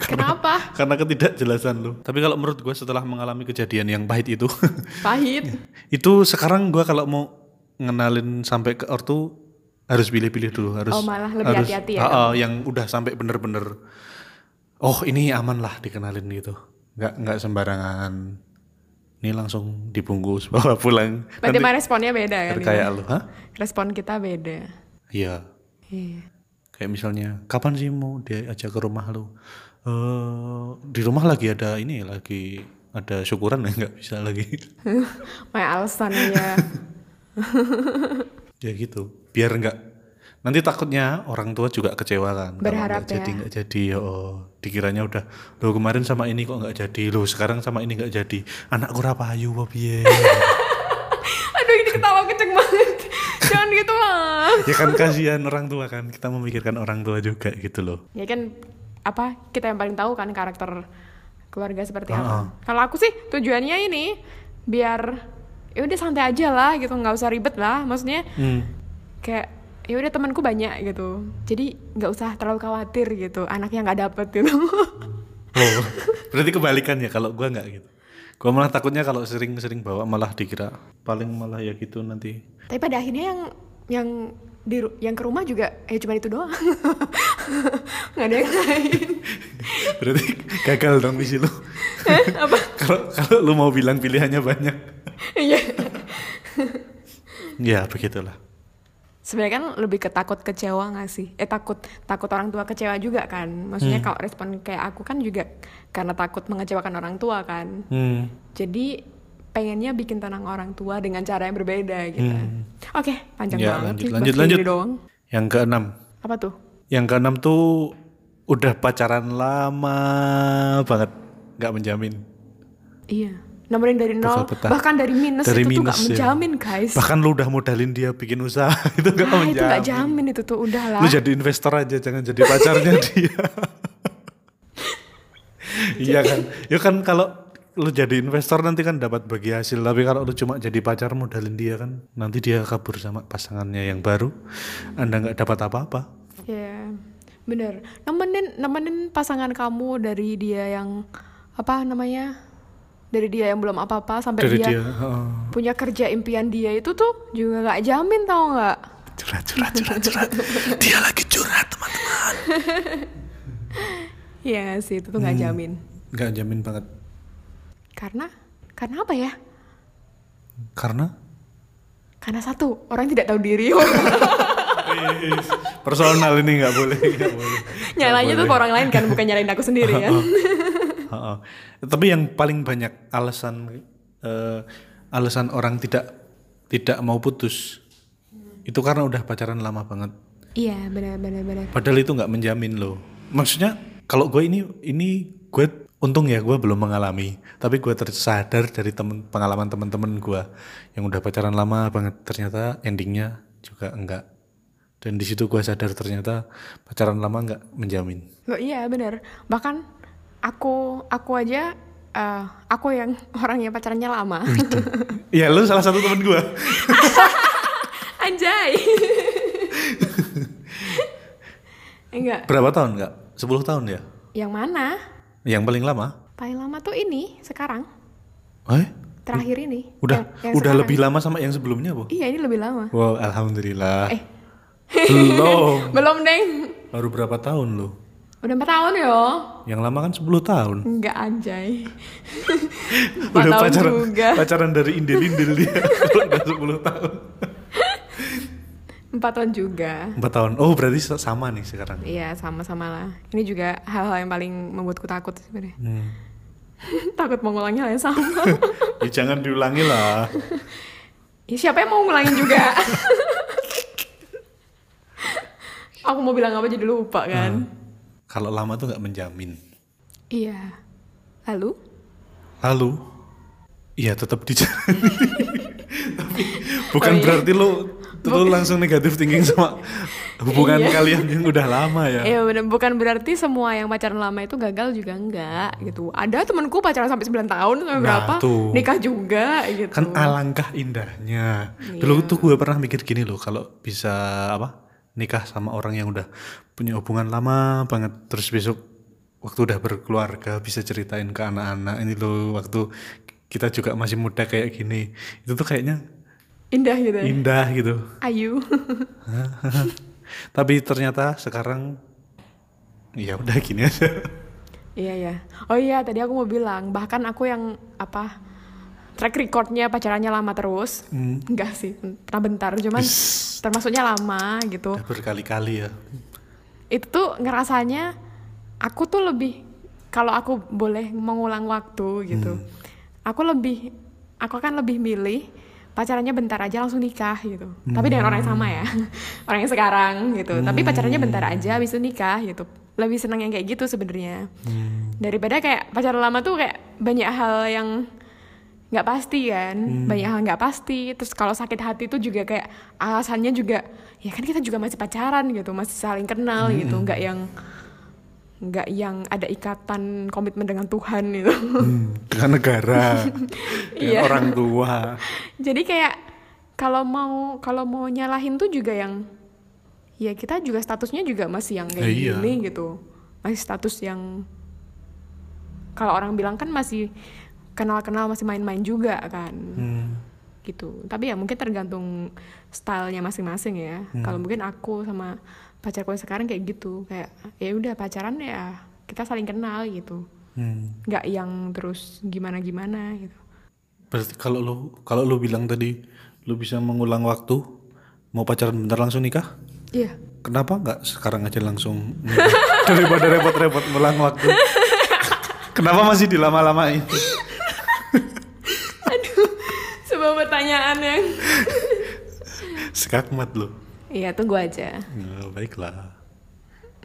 kenapa
Karena ketidakjelasan lu. Tapi kalau menurut gue setelah mengalami kejadian yang pahit itu.
pahit
itu sekarang gue kalau mau ngenalin sampai ke ortu harus pilih-pilih dulu harus
Oh, malah lebih
harus-
hati-hati ya?
Ah, ah, yang udah sampai bener-bener oh ini aman lah dikenalin gitu nggak nggak sembarangan ini langsung dibungkus bawa pulang
berarti
nanti
responnya beda kan gitu?
kayak lu hah
respon kita beda
iya
iya
kayak misalnya kapan sih mau diajak ke rumah lu Eh, di rumah lagi ada ini lagi ada syukuran nggak bisa lagi
Main alasan ya.
ya gitu biar nggak nanti takutnya orang tua juga kecewa kan kalau
Berharap
nggak jadi
ya.
nggak jadi oh dikiranya udah lo kemarin sama ini kok nggak jadi lo sekarang sama ini nggak jadi anakku rapayu apa piye?"
Aduh ini ketawa kenceng banget. Jangan gitu lah.
ya kan kasihan orang tua kan kita memikirkan orang tua juga gitu loh
Ya kan apa kita yang paling tahu kan karakter keluarga seperti apa.
Ah, ah.
Kalau aku sih tujuannya ini biar ya udah santai aja lah gitu nggak usah ribet lah. Maksudnya
Hmm.
kayak ya udah temanku banyak gitu. Jadi nggak usah terlalu khawatir gitu anaknya nggak dapet gitu.
Oh, berarti kebalikan ya kalau gua nggak gitu gua malah takutnya kalau sering-sering bawa malah dikira paling malah ya gitu nanti
Tapi pada akhirnya yang yang di ru- yang ke rumah juga ya cuma itu doang. nggak ada yang lain.
berarti gagal dong misi lu
Hah? apa?
kalau kalau lu mau bilang pilihannya banyak
Iya.
ya begitulah
Sebenarnya kan lebih ke takut kecewa nggak sih? Eh takut takut orang tua kecewa juga kan? Maksudnya
Hmm.
kalau respon kayak aku kan juga karena takut mengecewakan orang tua kan.
hmm.
Jadi pengennya bikin tenang orang tua dengan cara yang berbeda gitu. Oke, panjang
Hmm. Ya,
banget
lanjut,
sih,
lanjut,
bahas
lanjut.
ini doang.
Yang keenam.
Apa tuh?
Yang keenam tuh udah pacaran lama banget, nggak menjamin.
Iya. Nomorin dari nol,
Peta-peta.
bahkan dari minus
Dari
itu tuh
minus,
gak
ya.
menjamin guys.
Bahkan lu udah modalin dia bikin usaha itu nggak
Ah,
menjamin.
itu gak jamin itu tuh udahlah.
Lu jadi investor aja, jangan jadi pacarnya dia. iya kan? Ya kan kalau lu jadi investor nanti kan dapat bagi hasil, tapi kalau lu cuma jadi pacar modalin dia kan, nanti dia kabur sama pasangannya yang baru, anda nggak dapat apa-apa.
Iya, bener. Nemenin, nemenin pasangan kamu dari dia yang apa namanya, dari dia yang belum apa-apa sampai
Dari
dia,
dia, heeh.
punya kerja impian dia itu tuh juga nggak jamin tau nggak?
curhat curhat curhat curhat dia lagi curhat teman-teman
Iya nggak sih, itu tuh nggak
Hmm.
jamin.
nggak jamin banget
Karena, karena apa ya?
karena
Karena satu orang yang tidak tahu diri.
personal ini nggak boleh nggak boleh
Nyalanya tuh ke orang lain kan, bukan nyalain aku sendiri kan?
Heeh. tapi yang paling banyak alasan eh, alasan orang tidak tidak mau putus itu karena udah pacaran lama banget
Iya, benar-benar benar.
Padahal itu nggak menjamin loh. Maksudnya kalau gue ini ini gue untung ya gue belum mengalami. Tapi gue tersadar dari temen, pengalaman teman-teman gue yang udah pacaran lama banget ternyata endingnya juga enggak. Dan di situ gue sadar ternyata pacaran lama nggak menjamin.
Loh, iya bener. Bahkan aku, aku aja, eh, aku yang orang yang pacarannya lama.
Ya lu salah satu temen gue.
Anjay. Enggak.
Berapa tahun nggak? 10 tahun ya?
Yang mana?
Yang paling lama?
Paling lama tuh ini sekarang.
Eh?
terakhir ini.
Udah
yang- yang
udah
sekarang.
lebih lama sama yang sebelumnya, Bu?
Iya, ini lebih lama.
Wow, alhamdulillah.
Eh.
Belum.
Belum, Neng.
Baru berapa tahun loh?
Udah 4 tahun ya? yo.
Yang lama kan 10 tahun.
Enggak anjay. Empat
Udah
tahun
pacaran
juga.
pacaran dari indel-indel dia. Kalau udah 10 tahun.
4 tahun juga.
4 tahun. Oh, berarti sama nih sekarang.
Iya, sama-sama lah. Ini juga hal-hal yang paling membuatku takut sebenarnya.
Hmm.
takut mengulangi hal yang sama.
Ya, jangan diulangi lah.
ya, siapa yang mau ngulangin juga? Aku mau bilang apa jadi lupa
Hmm.
kan.
Kalau lama tuh nggak menjamin.
Iya. Lalu?
Lalu, iya tetap dijalani. Tapi bukan
Oh, iya.
berarti lu lu langsung negatif thinking sama hubungan
Iya.
kalian yang udah lama ya.
Iya bener, bukan berarti semua yang pacaran lama itu gagal juga enggak gitu. Ada temanku pacaran sampai 9 tahun sampai
Nah,
berapa?
tuh.
Nikah juga gitu. Iya.
Kan alangkah indahnya. Dulu tuh gue pernah mikir gini loh, kalau bisa apa nikah sama orang yang udah punya hubungan lama banget, terus besok waktu udah berkeluarga bisa ceritain ke anak-anak ini loh waktu kita juga masih muda kayak gini. Itu tuh kayaknya
Indah gitu. ya.
indah gitu.
Ayu.
Tapi ternyata sekarang ya udah gini aja.
Iya ya. Oh iya tadi aku mau bilang bahkan aku yang apa track recordnya pacarannya lama terus,
Hmm.
enggak sih pernah bentar cuman termasuknya lama gitu.
Udah berkali-kali ya.
Itu tuh ngerasanya aku tuh lebih kalau aku boleh mengulang waktu gitu, aku lebih aku akan lebih milih pacarannya bentar aja langsung nikah gitu. Tapi dengan orang yang sama ya, orang yang sekarang gitu. Tapi pacarannya bentar aja, habis itu nikah gitu. Lebih senang yang kayak gitu sebenarnya daripada kayak pacaran lama tuh kayak banyak hal yang nggak pasti kan banyak hal nggak pasti terus kalau sakit hati tuh juga kayak alasannya juga ya kan kita juga masih pacaran gitu masih saling kenal gitu nggak yang nggak yang ada ikatan komitmen dengan Tuhan gitu
Hmm, dengan negara, dengan
Iya.
orang tua.
jadi kayak kalau mau kalau mau nyalahin tuh juga yang ya kita juga statusnya juga masih yang kayak
Ya, iya.
gini gitu masih status yang kalau orang bilang kan masih kenal-kenal masih main-main juga kan
Hmm.
gitu tapi ya mungkin tergantung stylenya masing-masing ya
Hmm.
kalau mungkin aku sama pacarku yang sekarang kayak gitu kayak ya udah pacaran ya kita saling kenal gitu
hmm.
nggak yang terus gimana gimana gitu
Berarti kalau lu kalau lu bilang tadi lu bisa mengulang waktu, mau pacaran bentar langsung nikah?
iya
Kenapa nggak sekarang aja langsung nikah? daripada repot-repot ngulang waktu? Kenapa masih dilama-lamain?
sebuah pertanyaan yang
Skakmat lu.
Iya, tunggu aja.
Ya, baiklah.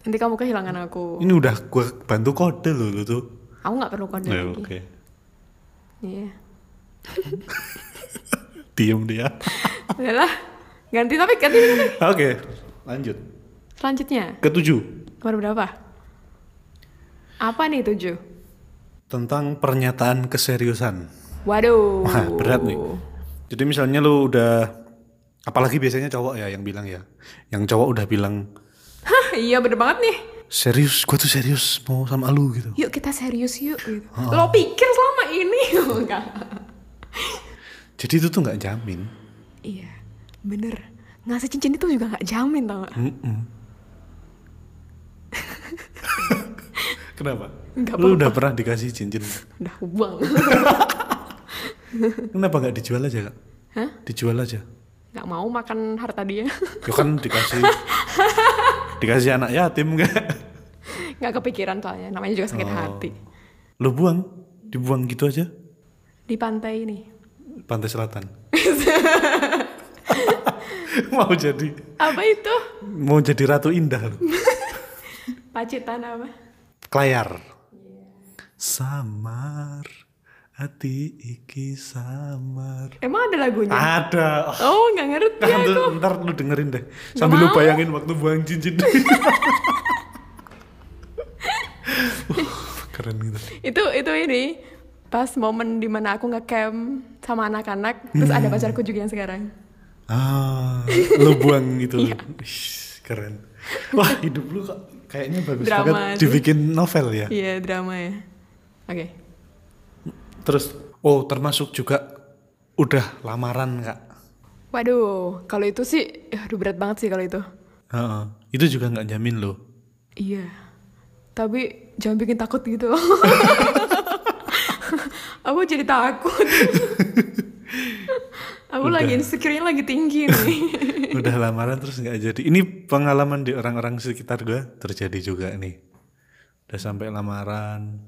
Nanti kamu kehilangan aku.
Ini udah gue bantu kode lo lu tuh.
Aku nggak perlu kode
Ya,
lagi.
Oke.
Iya.
Diem dia.
Udah lah. Ganti topik, ganti topik.
Oke, lanjut.
Selanjutnya,
Ketujuh,
nomor berapa? Apa nih tujuh?
tentang pernyataan keseriusan.
Waduh.
Wah, berat nih. Jadi misalnya lu udah apalagi biasanya cowok ya yang bilang ya. Yang cowok udah bilang,
Hah, iya bener banget nih.
"Serius, gua tuh serius mau sama lu" gitu.
Yuk kita serius yuk. Gitu. Lo pikir selama ini? Oh, Enggak.
Jadi itu tuh nggak jamin.
iya, bener. Ngasih cincin itu juga nggak jamin tau nggak?
Mm-mm. Kenapa?
Nggak
lu udah pernah dikasih cincin.
Udah uang.
Kenapa nggak dijual aja, Kak?
Hah?
Dijual aja.
Nggak mau makan harta dia.
Ya kan dikasih dikasih anak yatim enggak?
Nggak kepikiran soalnya. Namanya juga
Oh.
sakit hati.
Lu buang, dibuang gitu aja
Di pantai ini.
pantai selatan. mau jadi
Apa itu?
mau jadi ratu indah lu.
Pacitan apa?
Kelayar. Samar hati iki samar.
Emang ada lagunya?
Ada.
Oh,
Oh,
nggak ngerti
kan
aku.
lu- ntar lu dengerin deh. Sambil lu
mau.
bayangin waktu buang cincin. Uh, keren gitu.
Itu itu ini pas momen dimana aku ngecamp sama anak-anak, terus ada pacarku juga yang sekarang.
Ah, lu buang gitu.
Iya.
Ih, Keren. Wah, hidup lu kok kayaknya bagus
Drama Iya.
banget
sih.
dibikin novel ya.
Iya, drama ya. Oke.
Terus Oh, termasuk juga udah lamaran nggak?
Waduh, kalau itu sih, eh, aduh berat banget sih kalau itu.
Heeh. Itu juga nggak jamin loh.
Iya. Tapi jangan bikin takut gitu. Aku jadi takut. Aku lagi insecure-nya lagi tinggi nih.
udah lamaran terus nggak jadi. Ini pengalaman di orang-orang sekitar gua terjadi juga nih. Udah sampai lamaran,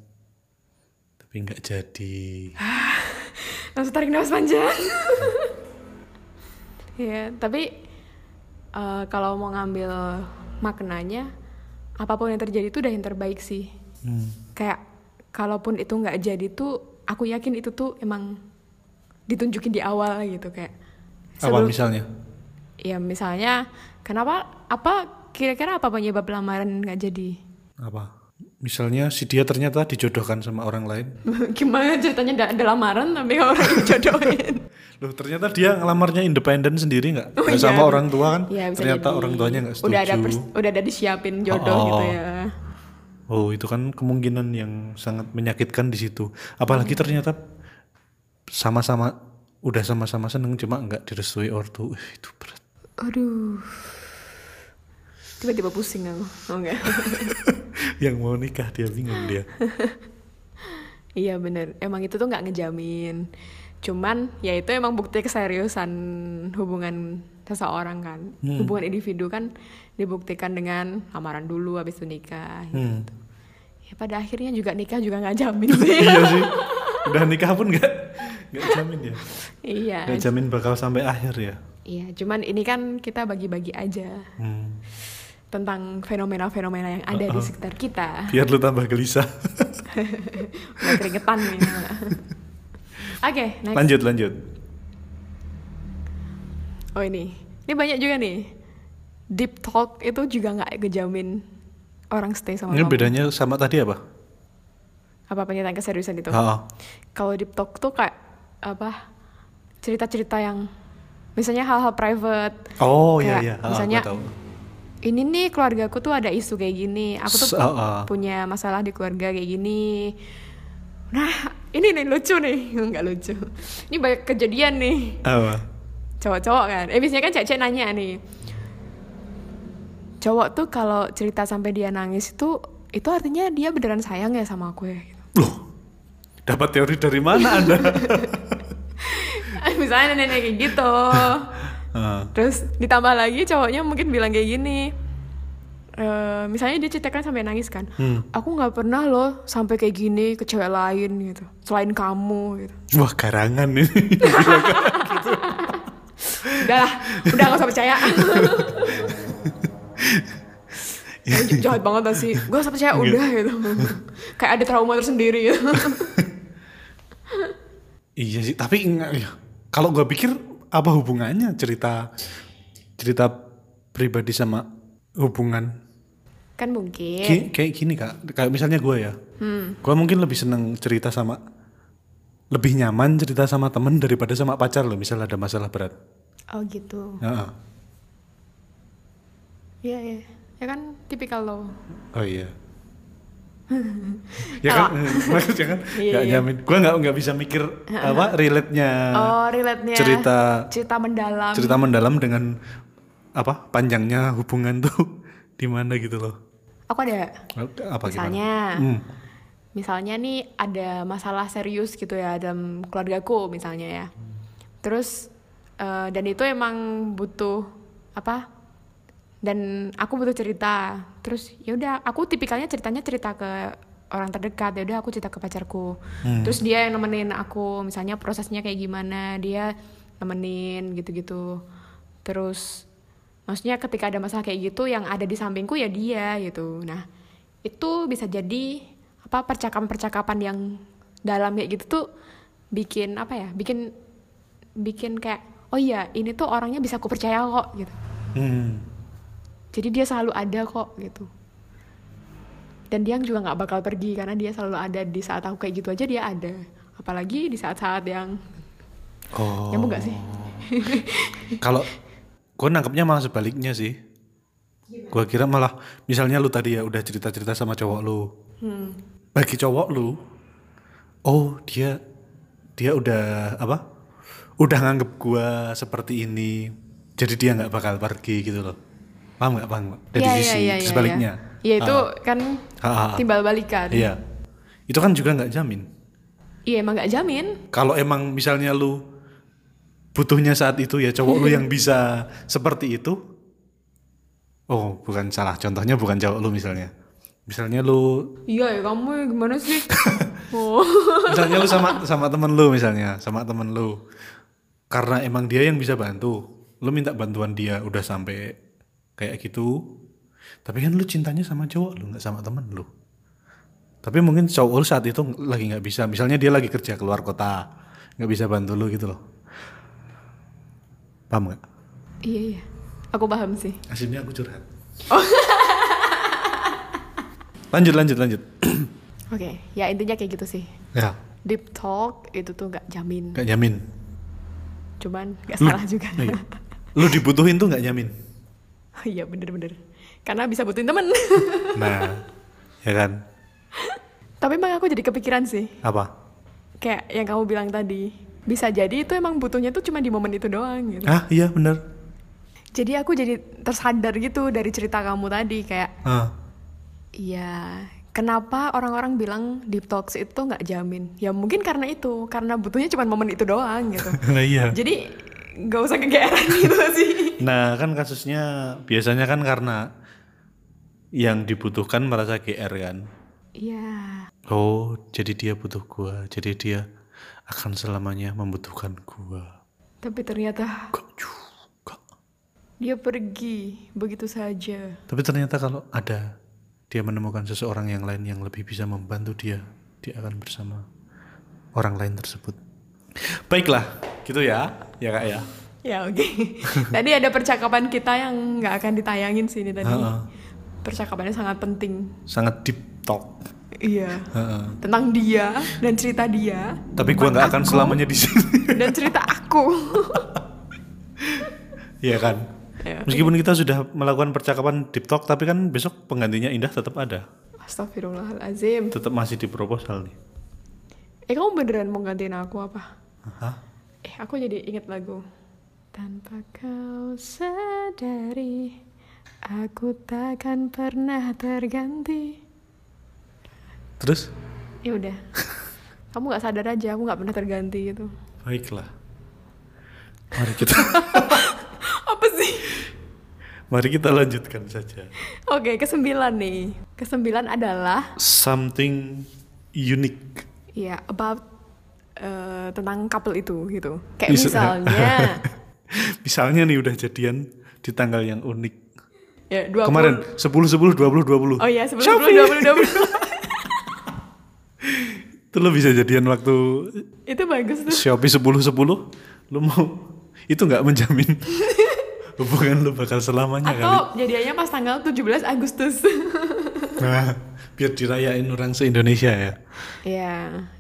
tapi nggak jadi.
Langsung tarik nafas panjang. Iya, tapi eh, kalau mau ngambil maknanya, apapun yang terjadi itu udah yang terbaik sih.
Hmm.
Kayak kalaupun itu nggak jadi tuh, aku yakin itu tuh emang ditunjukin di awal gitu kayak.
Apa
sebelum-
misalnya?
Ya misalnya, kenapa apa kira-kira apa penyebab lamaran nggak jadi?
Apa? Misalnya si dia ternyata dijodohkan sama orang lain.
Gimana ceritanya nggak ada lamaran tapi orang dijodohin?
Loh ternyata dia ngelamarnya independen sendiri nggak?
Oh,
Nggak
iya.
sama orang tua kan?
Iya, bisa
ternyata
jadi.
orang tuanya nggak setuju.
Udah ada pers- udah ada disiapin jodoh
Oh.
gitu ya.
Oh itu kan kemungkinan yang sangat menyakitkan di situ. Apalagi
Hmm.
ternyata sama-sama udah sama-sama seneng cuma nggak direstui ortu Ih, itu berat.
Aduh. Tiba-tiba pusing aku. Oh enggak.
yang mau nikah dia bingung dia.
iya bener. Emang itu tuh nggak ngejamin. Cuman ya itu emang bukti keseriusan hubungan seseorang kan.
Hmm.
Hubungan individu kan dibuktikan dengan lamaran dulu habis itu nikah.
Hmm.
Ya pada akhirnya juga nikah juga nggak jamin sih.
iya sih. Udah nikah pun nggak nggak jamin ya.
iya.
Nggak jamin bakal sampai akhir ya.
Iya, cuman ini kan kita bagi-bagi aja
Hmm.
tentang fenomena-fenomena yang ada
Uh-uh.
di sekitar kita.
Biar lu tambah gelisah.
Udah keringetan nih. Mbak. Oke, next.
lanjut lanjut.
Oh ini. Ini banyak juga nih. Deep talk itu juga nggak ngejamin orang stay sama
Ini
kamu.
bedanya sama tadi apa?
Apa pernyataan keseriusan itu?
Ha-ha.
Kalau deep talk tuh kayak apa? Cerita-cerita yang misalnya hal-hal private.
Oh iya
Kayak
iya. Ha-ha,
misalnya-
gua tahu.
Ini nih keluargaku tuh ada isu kayak gini. Aku tuh
S- ah, ah.
punya masalah di keluarga kayak gini. Nah, ini nih lucu nih. Nggak lucu. Ini banyak kejadian nih.
Apa?
cowok-cowok kan eh biasanya kan cewek-cewek nanya nih cowok tuh kalau cerita sampai dia nangis itu itu artinya dia beneran sayang ya sama aku ya gitu.
Loh, dapat teori dari mana anda?
misalnya nenek kayak gitu
Ah,
terus ditambah lagi cowoknya mungkin bilang kayak gini Eh, misalnya dia ceritakan sampai nangis kan
Hmm.
aku nggak pernah loh sampai kayak gini ke cewek lain gitu selain kamu gitu
Wah karangan ini.
udahlah udah gak usah percaya J- gitu, jahat banget lah sih gue usah percaya udah gitu kayak ada trauma tersendiri gitu
iya sih, tapi nggak- ya, kalau gua pikir apa hubungannya cerita cerita pribadi sama hubungan
kan mungkin
Ki- kayak gini kak, kayak misalnya gua ya,
Hmm.
Gua mungkin lebih seneng cerita sama lebih nyaman cerita sama temen daripada sama pacar loh misalnya ada masalah berat.
oh gitu
Heeh.
iya iya ya kan tipikal lo
Oh iya. ya kan, maksudnya kan
Iya,
nggak
iya.
nyamin. Gua nggak nggak bisa mikir apa relate-nya
oh relate nya
Ah, cerita-
cerita mendalam
cerita mendalam dengan apa panjangnya hubungan tuh di mana gitu loh.
aku ada
Apa gimana?
misalnya
Hmm.
misalnya nih ada masalah serius gitu ya dalam keluargaku misalnya ya terus eh, dan itu emang butuh apa dan aku butuh cerita terus ya udah aku tipikalnya ceritanya cerita ke orang terdekat ya udah aku cerita ke pacarku terus dia yang nemenin aku misalnya prosesnya kayak gimana dia nemenin gitu-gitu terus maksudnya ketika ada masalah kayak gitu yang ada di sampingku ya dia gitu nah itu bisa jadi apa percakapan-percakapan yang dalam kayak gitu tuh bikin apa ya bikin bikin kayak oh iya ini tuh orangnya bisa aku percaya kok gitu
Hmm.
jadi dia selalu ada kok gitu dan dia juga nggak bakal pergi karena dia selalu ada di saat aku kayak gitu aja dia ada apalagi di saat-saat yang
Oh.
nyambung gak sih
Kalau gue nangkepnya malah sebaliknya sih. Gue kira malah misalnya lu tadi ya udah cerita-cerita
Hmm.
sama cowok lu. Bagi cowok lu, oh dia dia udah apa udah nganggep gua seperti ini jadi dia nggak bakal pergi gitu loh paham nggak paham nggak dari
Iya, iya,
sisi
iya, iya,
sebaliknya
iya. Ya, itu
Ah,
kan
Ah, ah, ah.
timbal balikan.
iya itu kan juga nggak jamin
Iya, emang nggak jamin.
kalau emang misalnya lu butuhnya saat itu ya cowok lu yang bisa seperti itu oh bukan salah contohnya bukan cowok lu misalnya misalnya lu
Iya, ya kamu gimana sih? oh.
misalnya lu sama sama temen lu misalnya sama temen lu karena emang dia yang bisa bantu lu minta bantuan dia udah sampai kayak gitu tapi kan lu cintanya sama cowok lu nggak sama temen lu tapi mungkin cowok lu saat itu lagi nggak bisa misalnya dia lagi kerja keluar kota nggak bisa bantu lu gitu loh paham nggak
Iya, iya. Aku paham sih.
akhirnya aku curhat
Oh.
lanjut lanjut lanjut
Oke, ya intinya kayak gitu sih.
ya
Deep talk itu tuh nggak jamin.
nggak nyamin
Cuman nggak
Lu-
salah juga.
Iya. lu dibutuhin tuh nggak nyamin
Iya, bener-bener. Karena bisa butuhin temen.
Nah, ya kan?
Tapi emang aku jadi kepikiran sih.
Apa?
Kayak yang kamu bilang tadi. Bisa jadi itu emang butuhnya tuh cuma di momen itu doang gitu.
Ah, iya bener.
Jadi aku jadi tersadar gitu dari cerita kamu tadi kayak
Ah,
Iya, kenapa orang-orang bilang deep talks itu nggak jamin? Ya mungkin karena itu, karena butuhnya cuma momen itu doang gitu.
nah iya.
Jadi nggak usah kegeeran gitu sih.
Nah, kan kasusnya biasanya kan karena yang dibutuhkan merasa GR kan.
Iya,
Oh, jadi dia butuh gua. Jadi dia akan selamanya membutuhkan gua.
tapi ternyata
Kok juga.
dia pergi begitu saja.
Tapi ternyata kalau ada dia menemukan seseorang yang lain yang lebih bisa membantu dia, dia akan bersama orang lain tersebut. Baiklah, gitu ya. Ya Kak ya.
Ya oke. tadi ada percakapan kita yang nggak akan ditayangin sini tadi.
Ha-ha.
Percakapannya sangat penting.
Sangat deep talk.
Iya.
Heeh.
Tentang dia dan cerita dia
Tapi gua nggak akan selamanya di sini.
dan cerita aku.
Iya kan?
Ya.
Meskipun kita sudah melakukan percakapan deep talk, tapi kan besok penggantinya Indah tetap ada.
Astagfirullahalazim.
Tetap masih di proposal nih.
Eh kamu beneran mau gantiin aku apa?
Hah?
Eh aku jadi inget lagu. Tanpa kau sadari, aku takkan pernah terganti.
Terus?
Ya udah. Kamu nggak sadar aja, aku nggak pernah terganti gitu.
Baiklah. Mari kita
Apa sih?
mari kita lanjutkan saja.
Oke, kesembilan nih. Kesembilan adalah
Something unique.
ya about eh, tentang couple itu gitu. Kayak
Bisa.
misalnya
Misalnya nih udah jadian di tanggal yang unik.
ya 20
Kemarin 10 10 20 20.
Oh iya, sebelum
Shopee.
20 20
Itu lo bisa jadian waktu
20. itu bagus tuh.
Shopee 10 10 lu mau itu nggak menjamin hubungan lu bakal selamanya kali.
Atau jadiannya pas tanggal 17 Agustus.
Nah, biar dirayain orang se-Indonesia ya.
Iya.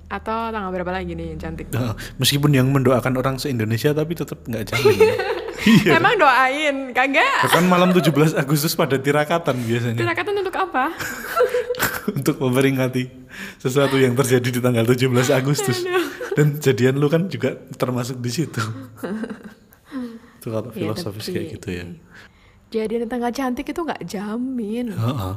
Atau tanggal berapa lagi nih yang cantik?
Nah, meskipun yang mendoakan orang se-Indonesia tapi tetap nggak jamin. iya.
Emang doain, kagak?
Bahkan malam 17 Agustus pada tirakatan biasanya
Tirakatan untuk apa?
untuk memperingati sesuatu yang terjadi di tanggal 17 Agustus. Dan jadian lu kan juga termasuk di situ. Itu kalau
Iya,
filosofis
tapi-
kayak gitu ya.
Jadian tanggal cantik itu nggak jamin.
Heeh.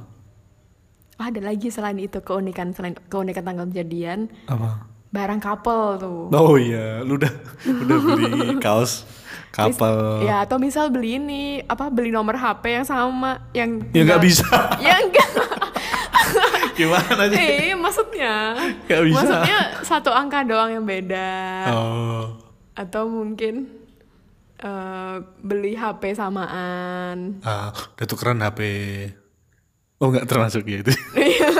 Ada lagi selain itu keunikan selain keunikan tanggal jadian,
Apa?
barang couple tuh.
Oh iya, lu udah udah beli kaos kapal.
Ya, atau misal beli ini, apa beli nomor HP yang sama yang
Ya nggak
tinggal-
bisa.
Ya enggak.
Gimana sih?
eh, maksudnya.
Nggak bisa.
Maksudnya satu angka doang yang beda.
Oh.
atau mungkin eh, beli HP samaan
Ah, udah tukeran HP. Oh, nggak termasuk ya itu.
Iya.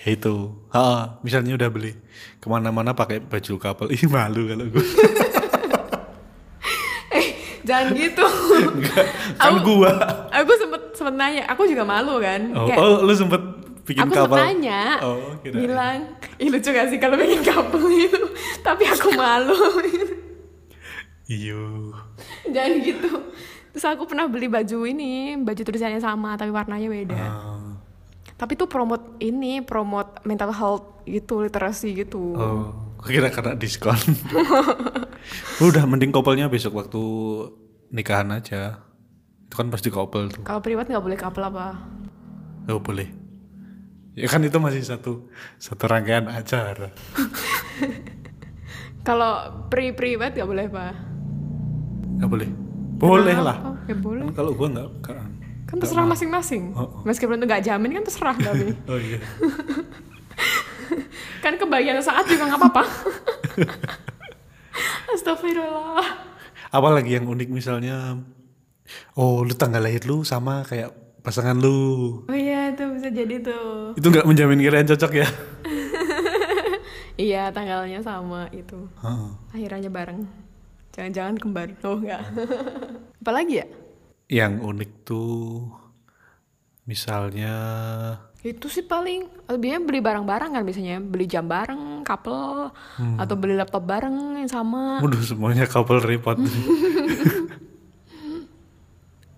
ya itu. Ah, misalnya udah beli kemana-mana pakai baju kapal. Ih malu kalau gue.
jangan gitu
kan
Aku-
gua.
aku sempet sempet nanya aku juga malu kan
Oh,
Kayak,
oh, lu sempet bikin
aku
kapal.
sempet nanya
Oh, kira.
bilang ih lucu gak sih kalau bikin couple itu tapi aku malu
Iyo.
jangan gitu terus aku pernah beli baju ini baju tulisannya sama tapi warnanya beda
Ah.
tapi tuh promote ini promote mental health gitu literasi gitu
Oh. Kira karena diskon. Udah mending kopelnya besok waktu nikahan aja. Itu kan pasti kopel tuh.
Kalau privat nggak boleh couple apa?
Oh boleh. Ya kan itu masih satu satu rangkaian acara.
Kalau pri privat nggak boleh apa?
Nggak boleh. Boleh
Kenapa?
lah.
Ya boleh.
Kalau gua nggak kan.
Kan terserah masing-masing.
Oh,
Meskipun itu nggak jamin kan terserah tapi.
Oh iya.
kan kebagian saat juga nggak apa-apa. Astagfirullah.
Apalagi yang unik misalnya. Oh lu tanggal lahir lu sama kayak pasangan lu.
Oh iya itu bisa jadi tuh.
Itu nggak menjamin kalian cocok ya.
Iya tanggalnya sama itu.
Heeh.
Akhirannya bareng. Jangan-jangan kembar. Oh enggak. Apalagi ya?
Yang unik tuh misalnya
Itu sih paling lebihnya beli barang-barang kan biasanya beli jam bareng, couple atau beli laptop bareng yang sama.
Waduh semuanya couple repot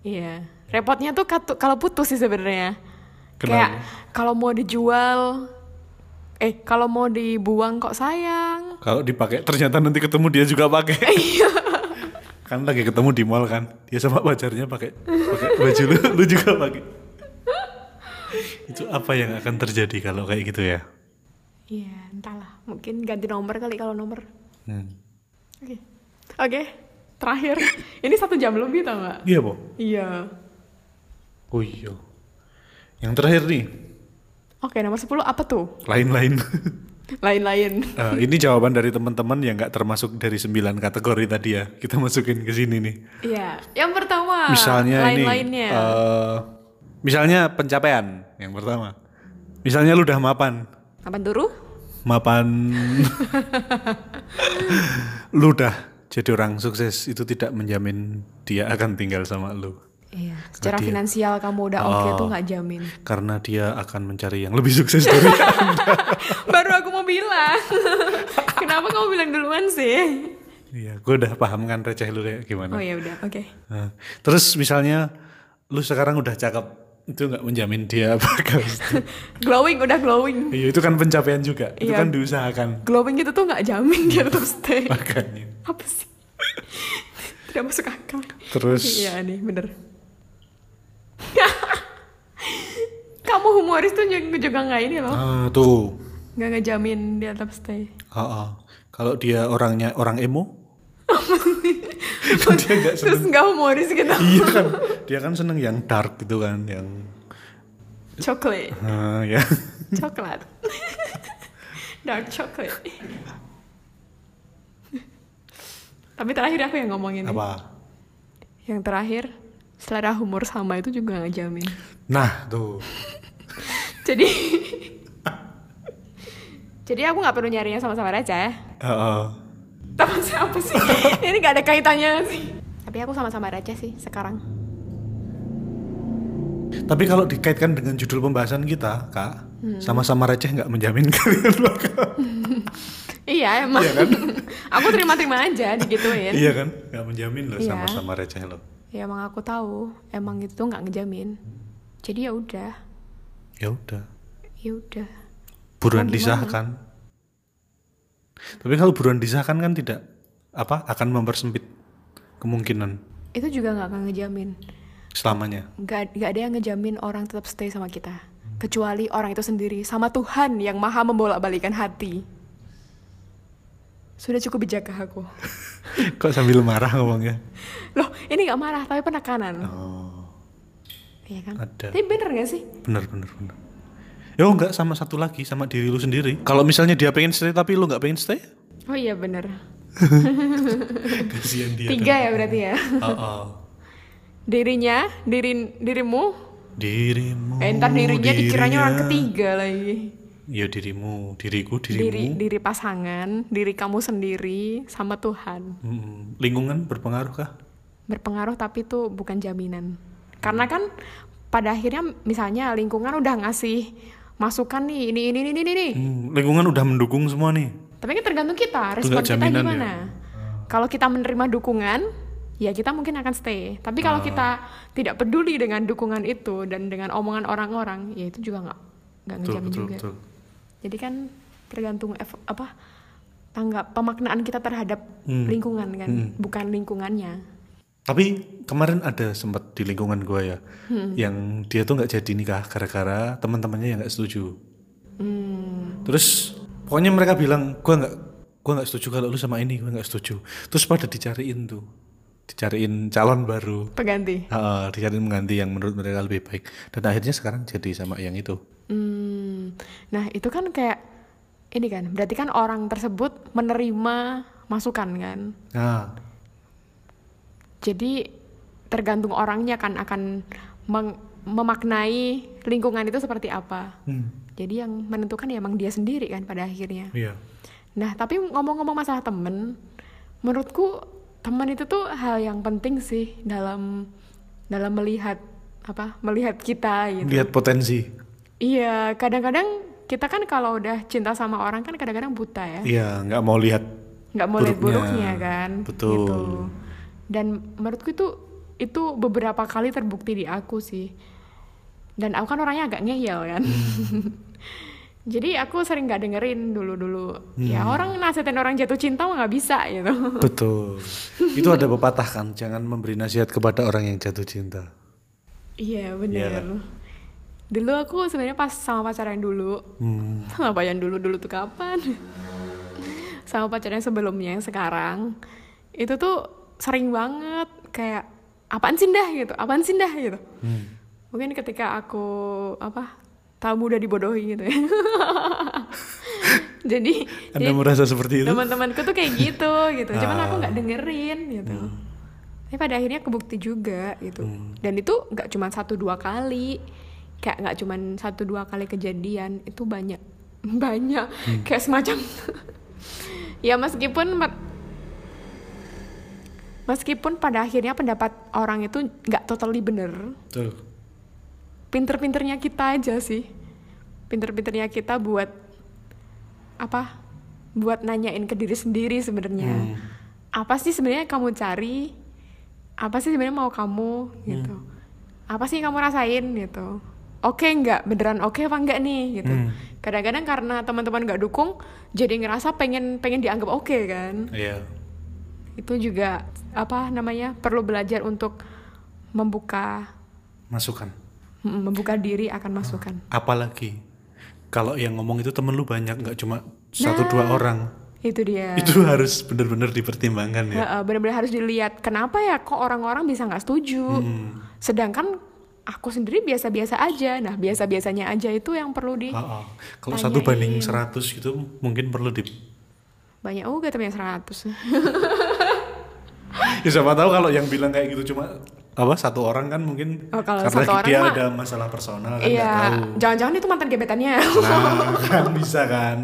Iya. Repotnya tuh katu- kalau putus sih sebenarnya.
Kenapa?
Kayak kalau mau dijual eh kalau mau dibuang kok sayang.
Kalau dipakai ternyata nanti ketemu dia juga pakai. kan lagi ketemu di mall kan. Dia sama pacarnya pakai pakai baju lu, lu juga pakai. Itu apa yang akan terjadi kalau kayak gitu ya?
Iya, entahlah. Mungkin ganti nomor kali kalau nomor.
Hmm.
Oke. Oke. Terakhir. Ini satu jam lebih tau nggak?
Iya, Bo.
Iya.
Oh iya. Yang terakhir nih,
Oke, nomor 10 apa tuh?
lain-lain.
Lain-lain.
Eh, ini jawaban dari teman-teman yang nggak termasuk dari 9 kategori tadi ya. Kita masukin ke sini nih.
Iya. Yang pertama.
misalnya ini
lain-lainnya.
eh, misalnya pencapaian yang pertama. Misalnya lu udah mapan,
Kapan turu?
mapan lu udah jadi orang sukses itu tidak menjamin dia akan tinggal sama lu
Iya. Secara
dia-
finansial kamu udah oke
Oh.
tuh nggak jamin.
karena dia akan mencari yang lebih sukses dari
Baru aku mau bilang. Kenapa kamu bilang duluan sih?
iya gue udah paham kan receh lu kayak gimana
Oh ya udah, oke.
Nah, terus misalnya lu sekarang udah cakep itu nggak menjamin dia bakal
glowing udah glowing.
iya itu kan pencapaian juga itu
Iya.
kan diusahakan
Glowing itu tuh nggak jamin dia tetap stay.
makanya
Apa sih? Tidak masuk akal.
terus
Iya nih, bener. kamu humoris tuh juga juga nggak ini loh.
ah, tuh
Nggak ngejamin dia tetap stay.
Ah, ah. kalau dia orangnya orang emo kan dia nggak
Terus nggak humoris gitu.
iya kan dia kan seneng yang dark gitu kan yang
Coklat.
Ah, ya
coklat dark chocolate tapi terakhir aku yang ngomongin nih.
apa
yang terakhir selera humor sama itu juga nggak jamin
nah tuh
jadi jadi aku nggak perlu nyarinya sama-sama ya. receh
Ah, ah.
teman siapa sih ini nggak ada kaitannya sih tapi aku sama-sama receh sih sekarang
tapi kalau dikaitkan dengan judul pembahasan kita kak
Hmm.
sama-sama receh nggak menjamin kalian bakal
iya emang
Iya kan?
aku terima-terima aja digituin
iya kan nggak menjamin loh
Ya. Iya.
sama-sama receh loh
ya emang aku tahu emang itu tuh nggak ngejamin jadi ya udah
ya udah
ya udah Mau Oh,
buruan
gimana?
disahkan tapi kalau buruan disahkan kan tidak apa akan mempersempit kemungkinan
itu juga nggak akan ngejamin
selamanya
nggak nggak ada yang ngejamin orang tetap stay sama kita kecuali orang itu sendiri sama Tuhan yang maha membolak balikan hati sudah cukup bijak aku
Kok sambil marah ngomongnya?
loh ini nggak marah tapi penekanan
Oh,
iya kan
ada.
tapi bener nggak sih
bener bener bener. Yo nggak sama satu lagi sama diri lu sendiri. Kalau misalnya dia pengen stay tapi lu nggak pengen stay,
oh iya bener
kasihan dia.
tiga ya berarti ya
dong. Oh, oh.
dirinya diri dirimu
Dirimu.
eh, ntar dirinya dikiranya orang
Oh, dirinya.
ketiga lagi
Ya dirimu, diriku,
diri
dirimu.
diri pasangan diri kamu sendiri sama Tuhan
Mm, lingkungan berpengaruh kah?
berpengaruh tapi itu bukan jaminan karena kan pada akhirnya misalnya lingkungan udah ngasih masukan nih ini ini ini ini, ini.
Mm, lingkungan udah mendukung semua nih.
tapi kan tergantung kita
Itu
respon
nggak
kita
jaminan ya.
gimana kalau kita menerima dukungan ya kita mungkin akan stay tapi
Ah.
kalau kita tidak peduli dengan dukungan itu dan dengan omongan orang-orang ya itu juga nggak nggak
Betul
ngejamin
betul
juga
betul.
jadi kan tergantung ef- apa tanggap pemaknaan kita terhadap
Hmm.
lingkungan kan, bukan lingkungannya.
Tapi kemarin ada sempat di lingkungan gua ya,
Hmm.
yang dia tuh nggak jadi nikah gara-gara teman-temannya yang nggak setuju.
Hmm,
Terus pokoknya mereka bilang gua nggak gua nggak setuju kalau lu sama ini, gua nggak setuju. Terus pada dicariin tuh, dicariin calon baru,
Peganti.
Heeh, dicariin mengganti yang menurut mereka lebih baik. Dan akhirnya sekarang jadi sama yang itu.
Hmm, nah itu kan kayak ini kan, berarti kan orang tersebut menerima masukan kan.
Nah,
Jadi tergantung orangnya kan akan meng- memaknai lingkungan itu seperti apa.
hmm,
Jadi yang menentukan ya emang dia sendiri kan pada akhirnya.
iya.
Nah tapi ngomong-ngomong masalah temen, menurutku temen itu tuh hal yang penting sih dalam dalam melihat apa melihat kita gitu.
Lihat potensi.
Iya, kadang-kadang kita kan kalau udah cinta sama orang kan kadang-kadang buta ya.
Iya, nggak mau lihat.
Nggak mau lihat
Buruknya.
buruknya kan.
Betul.
Gitu. Dan menurutku itu itu beberapa kali terbukti di aku sih. Dan aku kan orangnya agak ngeyel kan.
Hmm.
Jadi aku sering nggak dengerin dulu-dulu. Ya
Hmm.
orang nasihatin orang jatuh cinta mah nggak bisa gitu.
Betul. itu ada pepatah kan, jangan memberi nasihat kepada orang yang jatuh cinta.
Iya
Iya
bener.
kan?
Dulu aku sebenarnya pas sama pacar yang dulu,
Hmm.
Apa yang dulu-dulu tuh kapan? Sama pacarnya sebelumnya yang sekarang Itu tuh sering banget Kayak apaan sih dah gitu Apaan sih dah gitu Mungkin ketika aku apa Tamu udah dibodohi gitu ya Jadi
Anda merasa seperti itu?
teman-temanku tuh kayak gitu gitu cuman aku nggak dengerin gitu tapi pada akhirnya kebukti juga gitu dan itu nggak cuma satu dua kali kayak nggak cuma satu dua kali kejadian itu banyak banyak kayak semacam ya meskipun mer- meskipun pada akhirnya pendapat orang itu nggak totally bener
Betul.
pinter-pinternya kita aja sih pinter-pinternya kita buat apa buat nanyain ke diri sendiri sebenarnya apa sih sebenarnya yang kamu cari apa sih sebenarnya mau kamu gitu apa sih yang kamu rasain gitu oke nggak beneran oke apa enggak nih gitu kadang-kadang karena teman-teman nggak dukung jadi ngerasa pengen pengen dianggap oke kan
Iya.
itu juga apa namanya perlu belajar untuk membuka
Masukan.
Mm, membuka diri akan masukan.
Apalagi kalau yang ngomong itu temen lu banyak, nggak cuma satu dua
Nah.
orang.
Itu dia.
Itu harus benar-benar dipertimbangkan ya.
Heeh, Benar-benar harus dilihat kenapa ya kok orang-orang bisa nggak setuju.
Hmm.
Sedangkan aku sendiri biasa-biasa aja. Nah, biasa-biasanya aja itu yang perlu di
Ah, ah. Kalau satu banding 100 gitu mungkin perlu di
banyak oh gak yang 100.
Ya siapa tahu kalau yang bilang kayak gitu cuma apa satu orang kan mungkin
Oh, kalau
karena
satu orang
dia
mah-
ada masalah personal kan nggak
Iya,
tahu.
jangan-jangan itu mantan gebetannya.
Nah, kan bisa kan.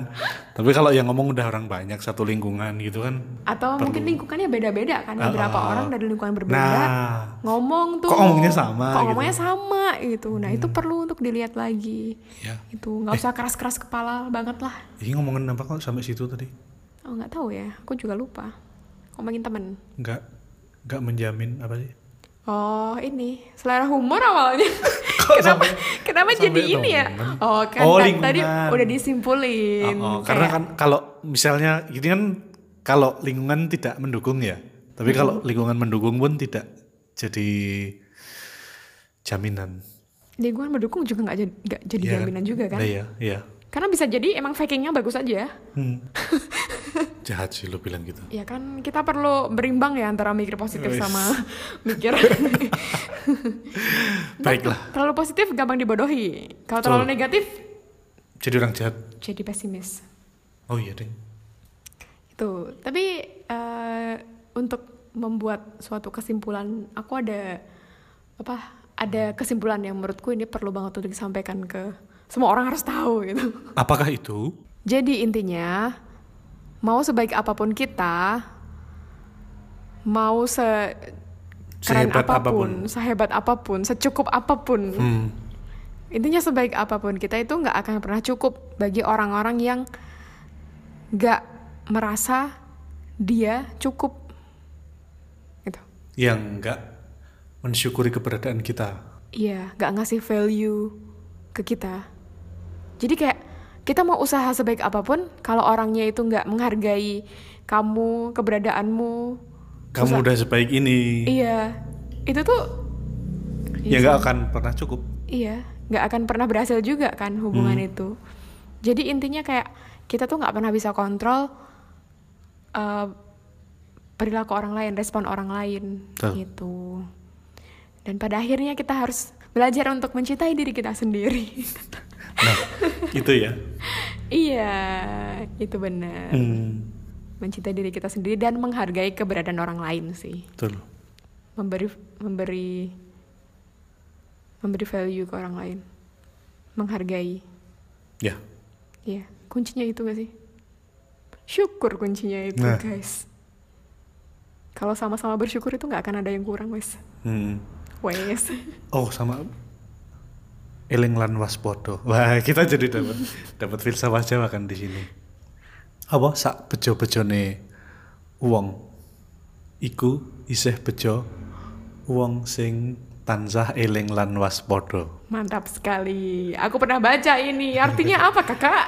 Tapi kalau yang ngomong udah orang banyak satu lingkungan gitu kan.
Atau mungkin lingkungannya beda-beda kan.
Ah,
Beberapa
ah.
orang dari lingkungan berbeda.
Nah,
ngomong tuh
Kok ngomongnya sama
kok
gitu? Hmm.
ngomongnya sama gitu nah itu perlu untuk dilihat lagi
Ya.
itu nggak usah keras-keras kepala banget lah
ini ngomongin apa kok sampai situ tadi?
Oh nggak tahu ya, aku juga lupa. Ngomongin temen.
Nggak nggak menjamin apa sih?
Oh ini selera humor awalnya.
Kok
kenapa
sampai-
kenapa
sampai
jadi ini ya?
temen?
Oh iya. kan
Oh,
ta-
lingkungan.
tadi udah disimpulin.
Oh, oh, karena kan kalau misalnya ini kan kalau lingkungan tidak mendukung ya. Tapi kalau lingkungan mendukung pun tidak jadi jaminan.
lingkungan mendukung juga nggak jadi nggak jadi
kan- Iya kan?
jaminan juga kan?
Nah, iya, iya.
Karena bisa jadi emang fakingnya bagus aja.
Hmm. Jahat sih lo bilang gitu.
Ya kan kita perlu berimbang ya antara mikir positif
Wis.
sama mikir
Baiklah,
terlalu positif gampang dibodohi. Kalau terlalu
Betul.
negatif
jadi orang jahat.
jadi pesimis.
Oh iya, Ding.
Itu. Tapi eh, untuk membuat suatu kesimpulan, aku ada apa? Ada kesimpulan yang menurutku ini perlu banget untuk disampaikan ke semua orang harus tahu gitu.
Apakah itu?
Jadi intinya mau sebaik apapun kita, mau se keren
Sehebat
apapun, sehebat apapun, secukup apapun,
Hmm.
intinya sebaik apapun kita itu nggak akan pernah cukup bagi orang-orang yang nggak merasa dia cukup gitu
Yang Ya enggak mensyukuri keberadaan kita.
iya nggak ngasih value ke kita jadi kayak kita mau usaha sebaik apapun kalau orangnya itu nggak menghargai kamu keberadaanmu
Kamu udah sebaik ini,
iya itu tuh
ya nggak akan pernah cukup.
Iya, nggak akan pernah berhasil juga kan hubungan itu. Jadi intinya kayak kita tuh nggak pernah bisa kontrol eh, perilaku orang lain, respon orang lain
Betul.
gitu. Dan pada akhirnya kita harus belajar untuk mencintai diri kita sendiri.
Nah, itu ya.
iya, itu benar.
Hmm,
Mencintai diri kita sendiri dan menghargai keberadaan orang lain sih.
betul.
Memberi memberi memberi value ke orang lain. Menghargai.
Ya.
Iya, kuncinya itu gak sih? Syukur kuncinya itu,
Nah.
guys. Kalau sama-sama bersyukur itu nggak akan ada yang kurang, wes.
Hmm.
Wes.
Oh sama eling lan waspodo. Wah kita jadi dapat dapat filsafah Jawa kan di sini. Apa sak bejo bejone uang iku isih bejo uang sing tansah eling lan waspodo.
Mantap sekali. Aku pernah baca ini. Artinya apa, Kakak?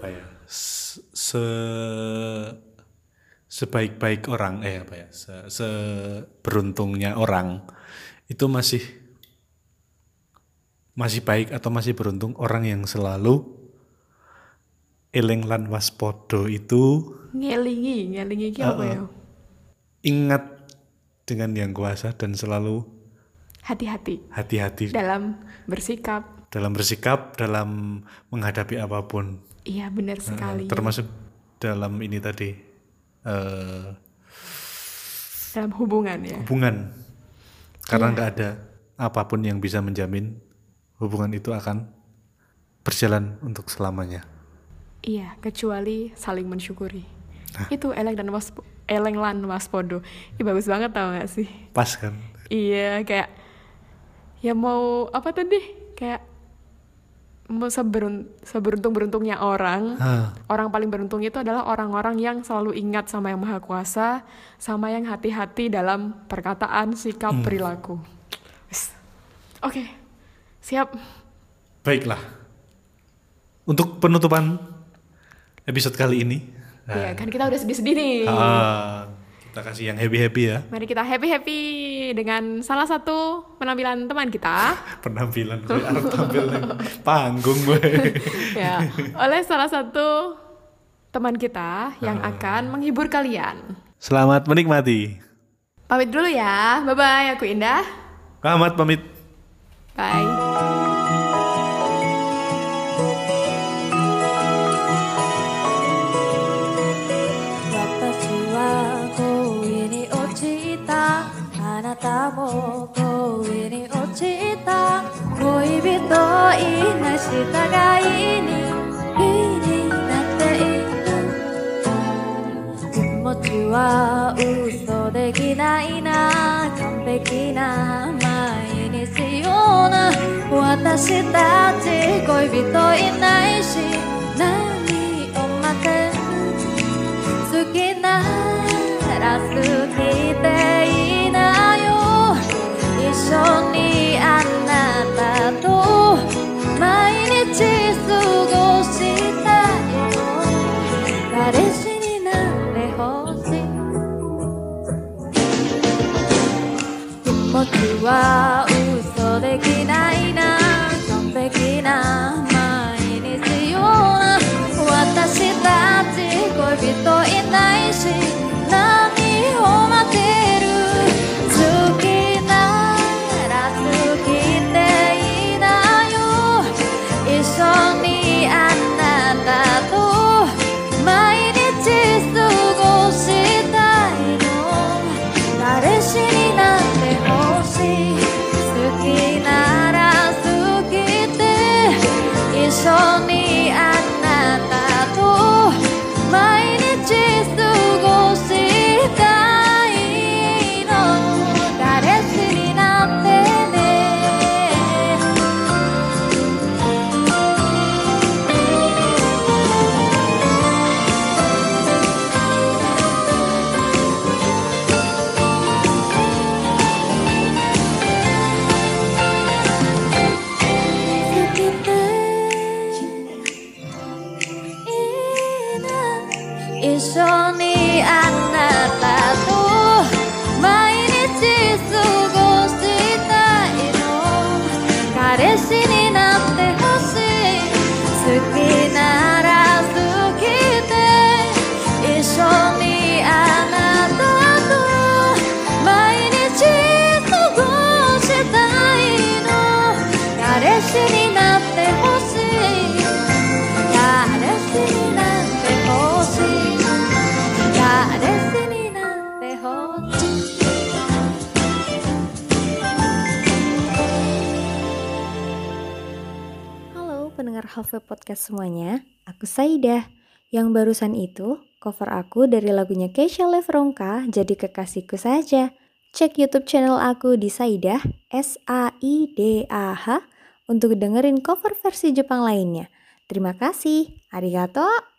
Apa ya? S- Se sebaik-baik orang eh apa ya? Se, seberuntungnya orang itu masih masih baik atau masih beruntung orang yang selalu eling lan waspodo itu
Ngelingi, ngelingi iki apa ya?
ingat dengan yang kuasa dan selalu
Hati-hati
hati-hati
dalam bersikap.
dalam bersikap dalam menghadapi apapun
Iya, benar sekali.
termasuk dalam ini tadi eh,
dalam hubungan ya.
hubungan karena nggak ada apapun yang bisa menjamin hubungan itu akan berjalan untuk selamanya
Iya, kecuali saling mensyukuri.
Nah.
Itu eleng dan waspo, eleng lan waspodo. Ih, bagus banget tau gak sih?
pas kan
Iya kayak ya mau apa tadi kayak mau seberun, seberuntung beruntungnya orang
Hah.
orang paling beruntung itu adalah orang-orang yang selalu ingat sama yang maha kuasa sama yang hati-hati dalam perkataan sikap perilaku Wis. oke siap
baiklah untuk penutupan episode kali ini
ya kan kita udah sedih-sedih nih
ah, kita kasih yang happy happy ya
mari kita happy happy dengan salah satu penampilan teman kita
penampilan gue harus tampil neng panggung gue
ya oleh salah satu teman kita yang akan menghibur kalian.
selamat menikmati
Pamit dulu ya. Bye bye, aku Indah.
selamat pamit
Bye.
「私は恋に落ちた」「あなたも恋に落ちた」「恋人いなし互いに気になっている」気持ちは嘘できないな完璧な毎日ような私たち恋人いないし何を待て好きなら好きでいいなよ一緒にあなたと毎日過ごしたいよ彼氏になってほしい気持ちは嘘できないな完璧な毎日ような私たち恋人いないし何を待ってる好きなら好きでいいなよ一緒にあなたと毎日過ごしたいの彼氏になってほしい一緒にあなたと毎日過ごしたいの彼氏になってほしい好きなら好きで一緒にあなたと毎日過ごしたいの彼氏になってほしい彼氏になってほしい彼氏になってほしい
Halo pendengar Halfway Podcast semuanya, aku Saidah. Yang barusan itu, cover aku dari lagunya Keisha Lefronka jadi kekasihku saja. Cek YouTube channel aku di Saidah, S-A-I-D-A-H, untuk dengerin cover versi Jepang lainnya. Terima kasih, arigato!